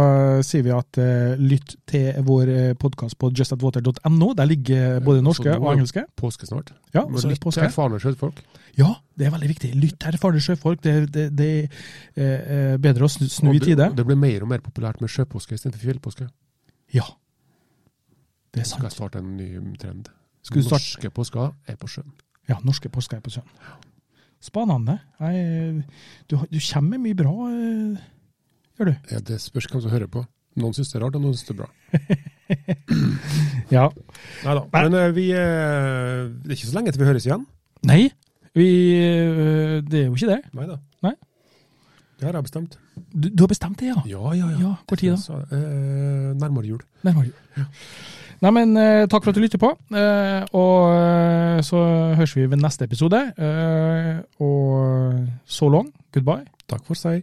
Speaker 2: eh, sier vi at eh, lytt til vår eh, podkast på justatwater.no. Der ligger eh, både
Speaker 3: Ja,
Speaker 2: norske
Speaker 3: så nå-
Speaker 2: og engelske.
Speaker 3: Påske snart.
Speaker 2: Ja,
Speaker 3: Men
Speaker 2: så er det
Speaker 3: Litt
Speaker 2: påske.
Speaker 3: erfarne sjøfolk.
Speaker 2: ja, det er veldig viktig. Lytt til erfarne sjøfolk. Det, det, det er eh, bedre å snu, snu
Speaker 3: Og
Speaker 2: i tide.
Speaker 3: Det blir mer og mer populært med sjøpåske istedenfor fjellpåske.
Speaker 2: Ja. Det er
Speaker 3: Skal jeg
Speaker 2: sant.
Speaker 3: starte en ny trend?
Speaker 2: Skal du starte
Speaker 3: Norske påsker er på sjøen.
Speaker 2: Ja, norske påsker er på sønn. Spanende. Jeg, du, har- du kommer med mye bra, eh, gjør du?
Speaker 3: Ja, det spørs hvem som hører på. Noen syns det er rart, og noen syns det er bra.
Speaker 2: Ja.
Speaker 3: Neida. Men eh, vi, eh, det er ikke så lenge til vi høres igjen.
Speaker 2: Nei, vi, eh, det er jo ikke det.
Speaker 3: Neida.
Speaker 2: Nei.
Speaker 3: Det har jeg bestemt.
Speaker 2: Du, du har bestemt det, ja?
Speaker 3: Ja, ja,
Speaker 2: Ja, Hvor tid da?
Speaker 3: Så, eh, nærmere jul.
Speaker 2: Nærmere jul. Nei, men eh, takk for at du lytter på, eh, og eh, så høres vi ved neste episode. eh, og so long, goodbye.
Speaker 3: Takk for seg.